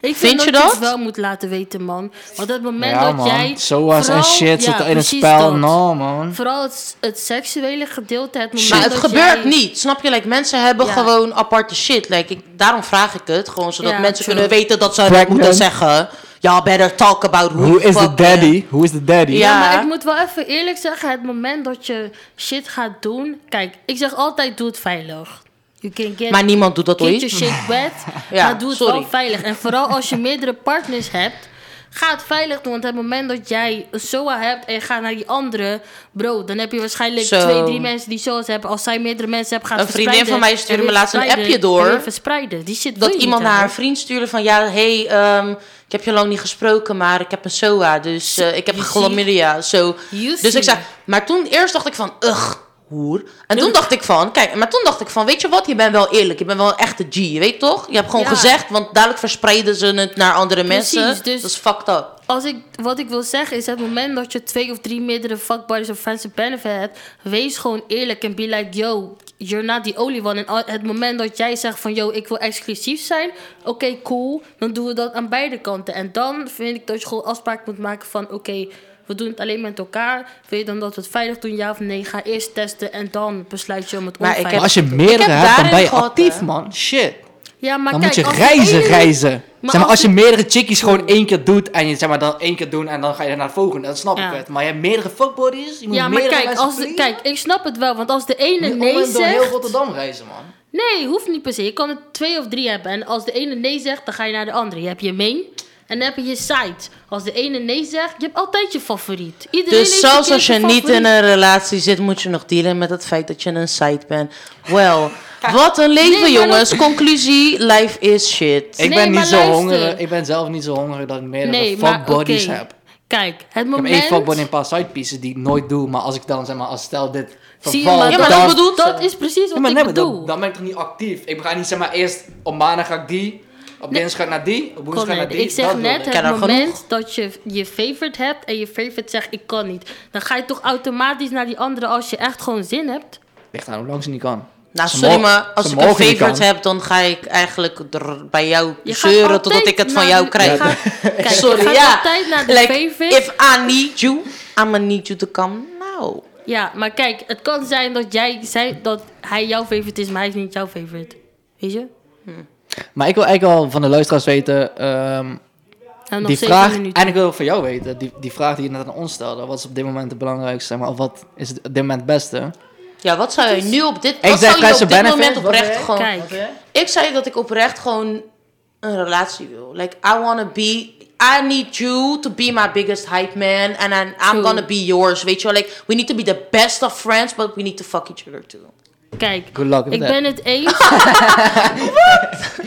Ik vind,
Vind je
dat je
dat?
het wel moet laten weten, man. Want het moment
Ja,
dat
man.
jij...
Zoals en
vooral-
shit
ja,
zit er in het
precies
spel.
dat.
No, man.
Vooral het, het seksuele gedeelte. Het moment
Maar het
dat
gebeurt
jij-
niet, snap je? Like, mensen hebben
Ja.
gewoon aparte shit. Like, ik, daarom vraag ik het, gewoon zodat
Ja,
mensen
true.
kunnen weten dat ze dat
Pregnant.
moeten zeggen. Y'all better talk about who
Who is the
fucking-
daddy? Who is the daddy?
Ja.
eh, Ja, maar ik moet wel even eerlijk zeggen. Het moment dat je shit gaat doen... Kijk, ik zeg altijd, doe het veilig. You can get,
Maar niemand doet dat
get your
ooit.
shit wet.
Ja,
maar doe het
sorry.
wel veilig. En vooral als je meerdere partners hebt... Ga het veilig doen, want het moment dat jij een SOA hebt en je gaat naar die andere, bro, dan heb je waarschijnlijk
Zo.
twee, drie mensen die SOA's hebben. Als zij meerdere mensen hebben, gaat
Een
het
vriendin
verspreiden.
van mij stuurde
En
me
weer
laatst een
verspreiden,
appje door.
en weer verspreiden. Die shit wil
Dat
je niet
iemand naar
hebben.
haar vriend stuurde van... Ja, hey, ehm, ik heb je lang niet gesproken, maar ik heb een SOA. Dus eh, ik heb
You
chlamydia. zo.
You
dus ik
see.
zei... Maar toen eerst dacht ik van... Ugh, hoer. En toen dacht ik van... Kijk, maar toen dacht ik van... Weet je wat? Je bent wel eerlijk. Je bent wel een echte G. Je weet toch? Je hebt gewoon
Ja.
gezegd. Want dadelijk verspreiden ze het naar andere
Precies,
mensen.
dus-
Dat is fucked up.
Als ik, wat ik wil zeggen is, het moment dat je twee of drie meerdere fuckbuddies of fans en benefit hebt, wees gewoon eerlijk en be like, yo, you're not the only one. En al- het moment dat jij zegt van, yo, ik wil exclusief zijn, oké, cool, dan doen we dat aan beide kanten. En dan vind ik dat je gewoon afspraak moet maken van, oké, we doen het alleen met elkaar. Wil je dan dat we het veilig doen, ja of nee? Ga eerst testen en dan besluit je om het
Maar ik
onveilig
heb-
Maar als je
Ik
meerdere hebt,
heb
dan
daarin
ben je
gehad,
actief,
hè.
man. Shit.
Ja, maar
Dan
kijk,
moet
als
je
de
reizen,
ene-
reizen. zeg maar,
als
als je
de-
meerdere chickies gewoon één keer doet en je zeg maar dan één keer doen en dan ga je naar de volgende, dan snap
Ja.
ik het. Maar je hebt meerdere fuckbodies, je moet
Ja, maar
meerdere
kijk,
mensen
als de-
pleasen.
kijk, ik snap het wel, want als de ene
Moet je om
nee
en door heel
zegt...
Rotterdam reizen, man.
Nee, hoeft niet per se. Je kan er twee of drie hebben. En als de ene nee zegt, dan ga je naar de andere. Je hebt je main en dan heb je je site. Als de ene nee zegt, je hebt altijd je favoriet. Iedereen
Dus
heeft een
zelfs
keer
als je
zijn
niet in
favoriet.
een relatie zit, moet je nog dealen met het feit dat je een site bent. Wel, wat een leven,
Nee, maar dat-
jongens. Conclusie, life is shit.
Ik
Nee,
ben niet
maar
zo
luister.
hongerig, ik ben zelf niet zo hongerig dat ik meerdere
Nee, maar
fuckbodies
oké.
heb.
Kijk, het
Ik heb
moment...
één fuckbody en een paar sidepieces die ik nooit doe, maar als ik dan zeg maar, als stel dit
Zie je,
vervalt,
maar,
Ja, maar
dat,
dat bedoelt
dat
ze.
is precies
Ja,
wat
maar
ik
nee, maar
bedoel.
dan, dan ben ik toch niet actief. Ik ga niet zeg maar eerst op maandag ga ik die, op dinsdag naar die, op woensdag naar
Correct.
die.
Ik zeg
dat bedoel
net,
ik.
ken
het
haar
moment dat je je favorite hebt en je favorite zegt ik kan niet. Dan ga je toch automatisch naar die andere als je echt gewoon zin hebt.
Ligt aan hoe lang ze niet kan.
Nou,
Ze
sorry,
mo-
maar als
ze
ik een
mogen niet
favorite
aan.
heb, dan ga ik eigenlijk er bij jou
Je gaat
zeuren
altijd
totdat ik het van
naar
jou
de-
krijg.
je gaat- kijk, je
sorry,
gaat
ja.
altijd naar de
Like,
favorite.
if I need you, I'ma need you to come now.
Ja, maar kijk, het kan zijn dat jij zei dat hij jouw favorite is, maar hij is niet jouw favorite. Weet je?
Maar ik wil eigenlijk al van de luisteraars weten, ehm,
En Nou, nog
die
zeven
vraag,
minuten.
en ik wil van jou weten, die, die vraag die je net aan ons stelde, wat is op dit moment het belangrijkste, zeg maar, of wat is het op dit moment het beste?
Ja, wat zou je nu op dit,
Ik zeg
wat zou je op
Kaiser
dit
Benefit,
moment
wat
oprecht
ben ik?
gewoon...
Dus- Kijk,
Ik zei dat ik oprecht gewoon een relatie wil. Like, I wanna be... I need you to be my biggest hype man. And I'm, I'm
True.
gonna be yours, weet je wel. Like, we need to be the best of friends, but we need to fuck each other too.
Kijk,
Good luck with
ik
that.
ben het eens.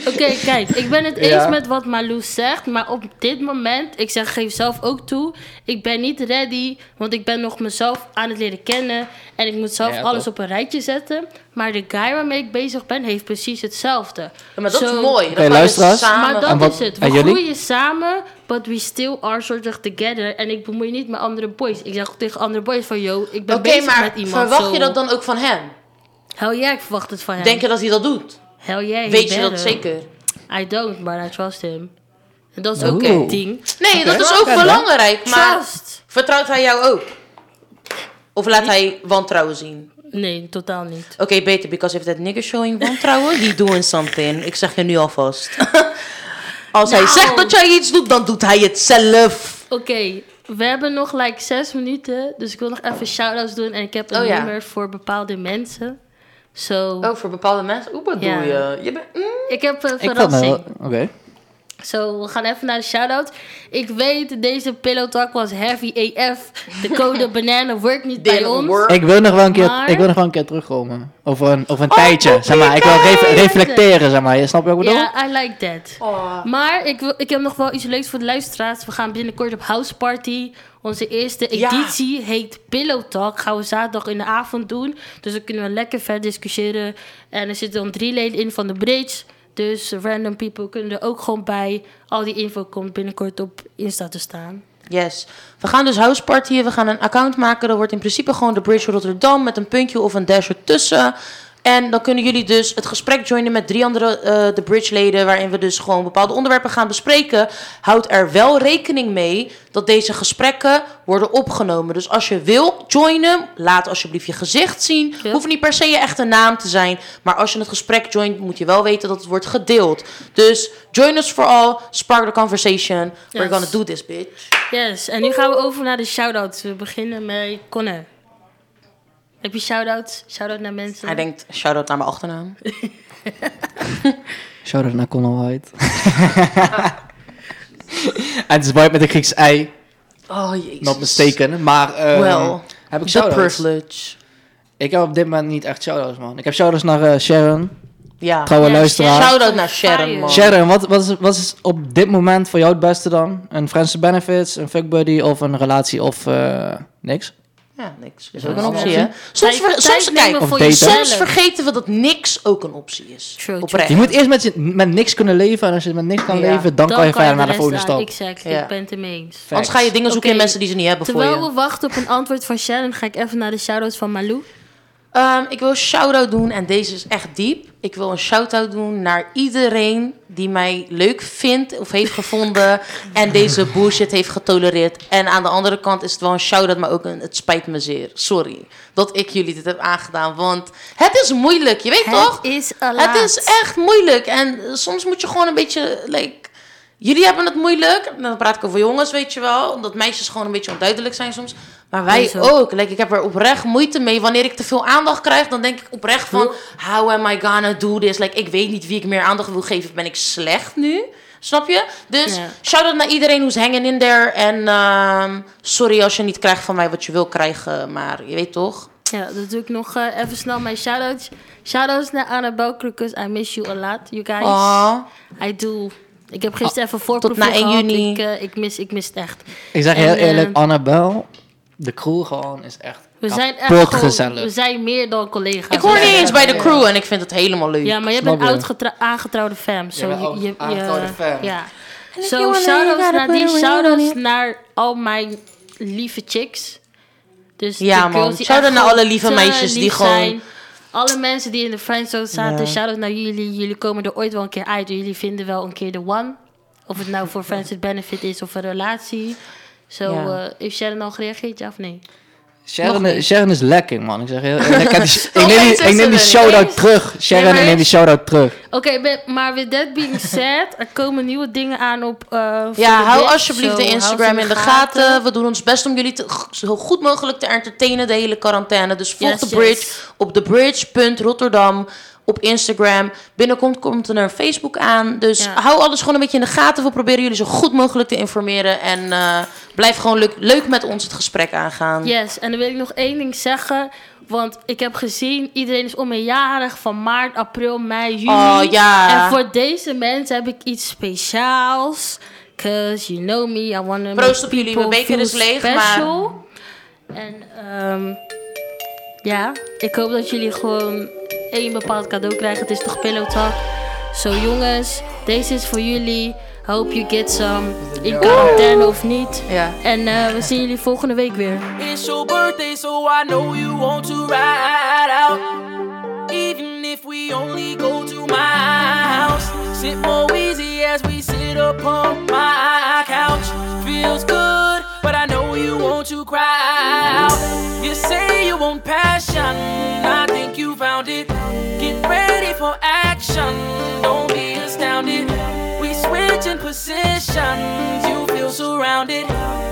Oké, kijk, ik ben het eens
Ja.
met wat Marloes zegt, maar op dit moment, ik zeg geef zelf ook toe, ik ben niet ready, want ik ben nog mezelf aan het leren kennen en ik moet zelf
Ja,
alles
toch.
op een rijtje zetten. Maar de guy waarmee ik bezig ben, heeft precies hetzelfde.
Ja, maar dat
Zo-
is mooi.
Oké,
Dat kan je
luisteraars.
samen...
maar
En
dat
wat-
is het.
en
We
jullie?
groeien samen, but we still are sort of together. En ik bemoei niet met andere boys. Ik zeg tegen andere boys van, yo, ik ben
Oké,
bezig
maar
met iemand.
verwacht
zo.
je dat dan ook van hem?
Hell yeah, ik verwacht het van hem.
Denk je dat hij dat doet?
Hell yeah, he
Weet je dat
better.
zeker?
I don't, but I trust him. En dat is
Oeh.
ook een ding.
Nee, dat is
Oké,
ook
dan.
belangrijk. Maar
Trust!
vertrouwt hij jou ook? Of laat hij wantrouwen zien?
Nee, totaal niet.
Oké, beter, because if that nigger showing wantrouwen, he doing something. Ik zeg je nu alvast. Als hij
Nou.
zegt dat jij iets doet, dan doet hij het zelf.
Oké, we hebben nog like zes minuten. Dus ik wil nog even shout-outs doen. En ik heb een
Oh ja. Oh.
nummer voor bepaalde mensen. Zo,
voor bepaalde mensen? Hoe bedoel
Ja.
je? je bent, Mm.
ik heb een
Ik vond het wel-
verrassing.
Oké.
Zo, we gaan even naar de shout-out. Ik weet, deze Pillow Talk was heavy AF. De code banana werkt niet bij
Didn't
ons.
work.
Ik wil nog wel een keer,
Maar- Oh,
ik wil nog wel een keer terugkomen. Over een, over een tijdje, zeg maar. Ik wil ref-
publiek!
reflecteren, zeg maar. Je snapt wat ik
Ja,
bedoel?
I like that.
Oh.
Maar ik, wil, ik heb nog wel iets leuks voor de luisteraars. We gaan binnenkort op House Party. Onze eerste
Ja.
editie heet Pillow Talk. Gaan we zaterdag in de avond doen. Dus dan kunnen we lekker verder discussiëren. En er zitten dan drie leden in van de bridge. Dus random people kunnen er ook gewoon bij. Al die info komt binnenkort op Insta te staan.
Yes. We gaan dus housepartyen. We gaan een account maken. Dat wordt in principe gewoon de Bridge Rotterdam met een puntje of een dash ertussen. En dan kunnen jullie dus het gesprek joinen met drie andere eh de Bridge-leden. Waarin we dus gewoon bepaalde onderwerpen gaan bespreken. Houd er wel rekening mee dat deze gesprekken worden opgenomen. Dus als je wil joinen, laat alsjeblieft je gezicht zien.
Ja.
Hoeft niet per se je echte naam te zijn. Maar als je het gesprek joint, moet je wel weten dat het wordt gedeeld. Dus join us vooral. Spark the conversation. We're
Yes.
gonna do this, bitch.
Yes, en nu gaan we over naar de shout-outs. We beginnen met Connor. Heb je shout-outs? Shout-out naar mensen?
Hij denkt, shout-out naar mijn achternaam.
Shout-out naar Conor White. en het is White met een Grieks ei.
Oh, jezus.
Not mistaken. Maar ehm,
Well,
heb ik
The
shout-outs?
privilege.
Ik heb op dit moment niet echt shout-outs, man. Ik heb shout-outs naar eh, Sharon,
Ja.
trouwe
Ja,
luisteraar.
Sharon.
Shout-out naar Sharon, man.
Sharon, wat, wat, is, wat is op dit moment voor jou het beste dan? Een friends with benefits, een fuckbuddy of een relatie of eh, niks?
Ja, niks. Is ook een
Ja.
optie, hè? Soms,
Tijd-
ver-
tijd
soms,
nemen
kijk,
Of
voor
daten.
jezelf.
soms vergeten we dat niks ook een optie is.
True, true.
Oprecht.
Je moet eerst met, je- met niks kunnen leven. En als je met niks kan
Ja.
leven, dan, kan je verder naar de volgende
rest
stap.
aan. Exactly,
Ja.
ik ben het ermee eens.
Facts.
Anders ga je dingen zoeken in
Oké.
mensen die ze niet hebben voor
Terwijl
je.
we wachten op een antwoord van Sharon, ga ik even naar de shout-outs van Malou.
Ehm, ik wil een shout-out doen en deze is echt diep. Ik wil een shout-out doen naar iedereen die mij leuk vindt of heeft gevonden en deze bullshit heeft getolereerd. En aan de andere kant is het wel een shout-out, maar ook een het spijt me zeer. Sorry dat ik jullie dit heb aangedaan, want het is moeilijk, je weet toch?
Het is a
Het is echt moeilijk en eh, soms moet je gewoon een beetje, like, jullie hebben het moeilijk. Dan praat ik over jongens, weet je wel, omdat meisjes gewoon een beetje onduidelijk zijn soms. Maar wij
Is ook.
ook. Like, ik heb er oprecht moeite mee. Wanneer ik te veel aandacht krijg, dan denk ik oprecht van, how am I gonna do this? Like, ik weet niet wie ik meer aandacht wil geven. Ben ik slecht nu? Snap je? Dus
Ja.
shout-out naar iedereen who's hanging in there. En ehm, sorry als je niet krijgt van mij wat je wil krijgen. Maar je weet toch?
Ja, dat doe ik nog eh, even snel mijn shout-outs. Shout-outs naar Annabel Kroekus, I miss you a lot, you guys.
Aw.
I do. Ik heb gisteren even voorproefje
na 1
gehad.
juni.
Ik, eh, ik, mis, ik mis het echt.
Ik zeg je
En,
heel eerlijk,
eh,
Annabel, de crew gewoon is echt
We zijn echt
kapot
gewoon-
gezellig.
We zijn meer dan collega's.
Ik hoor
We
niet
zijn-
eens bij de crew en ik vind het helemaal leuk.
Ja, maar jij
Snap
bent
je?
oud getra- aangetrouwde fam. zo
bent
je-
oud
je- je-
aangetrouwde fam.
Ja.
you
Zo,
wanna- you
shout-outs
gotta
naar
put
die
a ring
shout-outs
on
naar al mijn lieve chicks. Dus de
Ja,
girls
man.
die echt
Shout-out naar
gewoon
alle lieve
te
meisjes die
lief
gewoon-
zijn. Alle mensen die in de friendzone zaten,
Ja.
shout-out naar jullie. Jullie komen er ooit wel een keer uit. Jullie vinden wel een keer de one. Of het nou voor friends with benefit is of een relatie. Zo,
Ja.
eh, heeft Sharon al gereageerd, ja of nee?
Sharon, is- Sharon is lekker, man. Ik zeg heel eerlijk. Ik, heb die- ik
Nog
neem
eens
die, ik
is
neem
er
die
een
shout-out
eens.
terug. Sharon,
Nee, maar
ik neem die
eens.
shout-out terug.
Oké, be- maar with that being said, er komen nieuwe dingen aan op. eh, voor
Ja,
de
hou
bit.
alsjeblieft
Zo,
de
hou ze
Instagram in de gaten. We doen ons best om jullie te, g- zo goed mogelijk te entertainen de hele quarantaine. Dus volg
Yes,
de bridge
yes.
op thebridge.rotterdam op Instagram. Binnenkort komt er een Facebook aan. Dus
Ja.
hou alles gewoon een beetje in de gaten. We proberen jullie zo goed mogelijk te informeren. En eh, blijf gewoon leuk, leuk met ons het gesprek aangaan.
Yes, en dan wil ik nog één ding zeggen. Want ik heb gezien, iedereen is om een jarig van maart, april, mei, juni.
Oh, ja.
En voor deze mensen heb ik iets speciaals. Cause you know me, I wanna make
Proost op jullie, mijn
people
beker is
feel
leeg, maar-
special. En ehm, ja, ik hoop dat jullie gewoon één bepaald cadeau krijgen. Het is toch Pillow Talk. Zo jongens, deze is voor jullie. Hope you get some. In quarantaine of niet.
Ja.
En eh, we zien jullie volgende week weer.
It's your birthday, so I know you want to ride out. Even if we only go to my house, sit more easy as we sit upon my couch. Feels good, but I know you want to cry out. You say you want passion, I think you found it. Get ready for action, don't be astounded. We switching positions, you feel surrounded.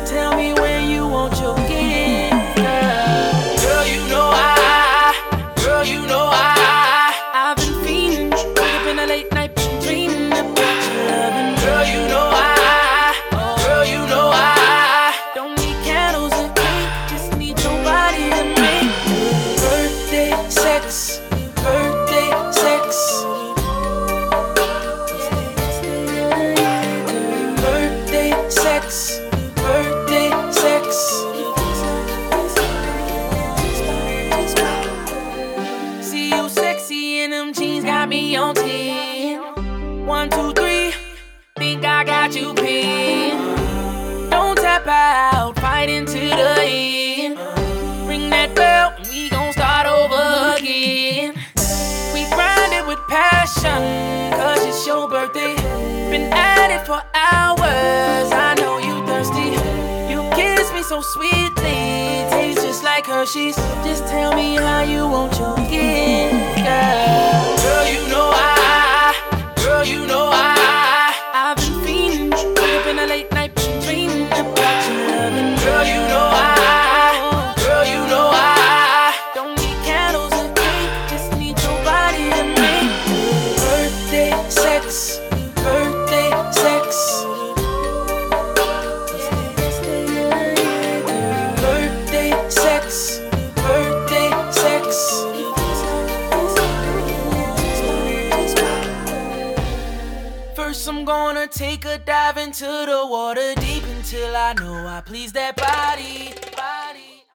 Tell me when you want your gift, girl. Girl, you know I, girl, you know I, I've been fiending. It's been a late night dreaming about your loving. Girl, you know I, girl, you know I, don't need candles and paint, just need your body to make birthday sex, birthday sex. Birthday sex, birthday sex. See you sexy in them jeans, got me on ten. One, two, three, think I got you pinned. Don't tap out, fight into the end. Ring that bell, we gon' start over again. We grind it with passion, cause it's your birthday. Been at it for hours, I know you thirsty. You kiss me so sweetly, tastes just like Hershey's. Just tell me how you want your gift, girl. Girl, you know I, girl, you know I, I've been fiending. It's been a late night dreaming about your loving. Girl, you know I, girl, you know I, don't need candles and paint, just need your body to make birthday sex, birthday sex. Birthday sex, birthday sex. First, I'm gonna take a dive into the water deep until I know I please that body.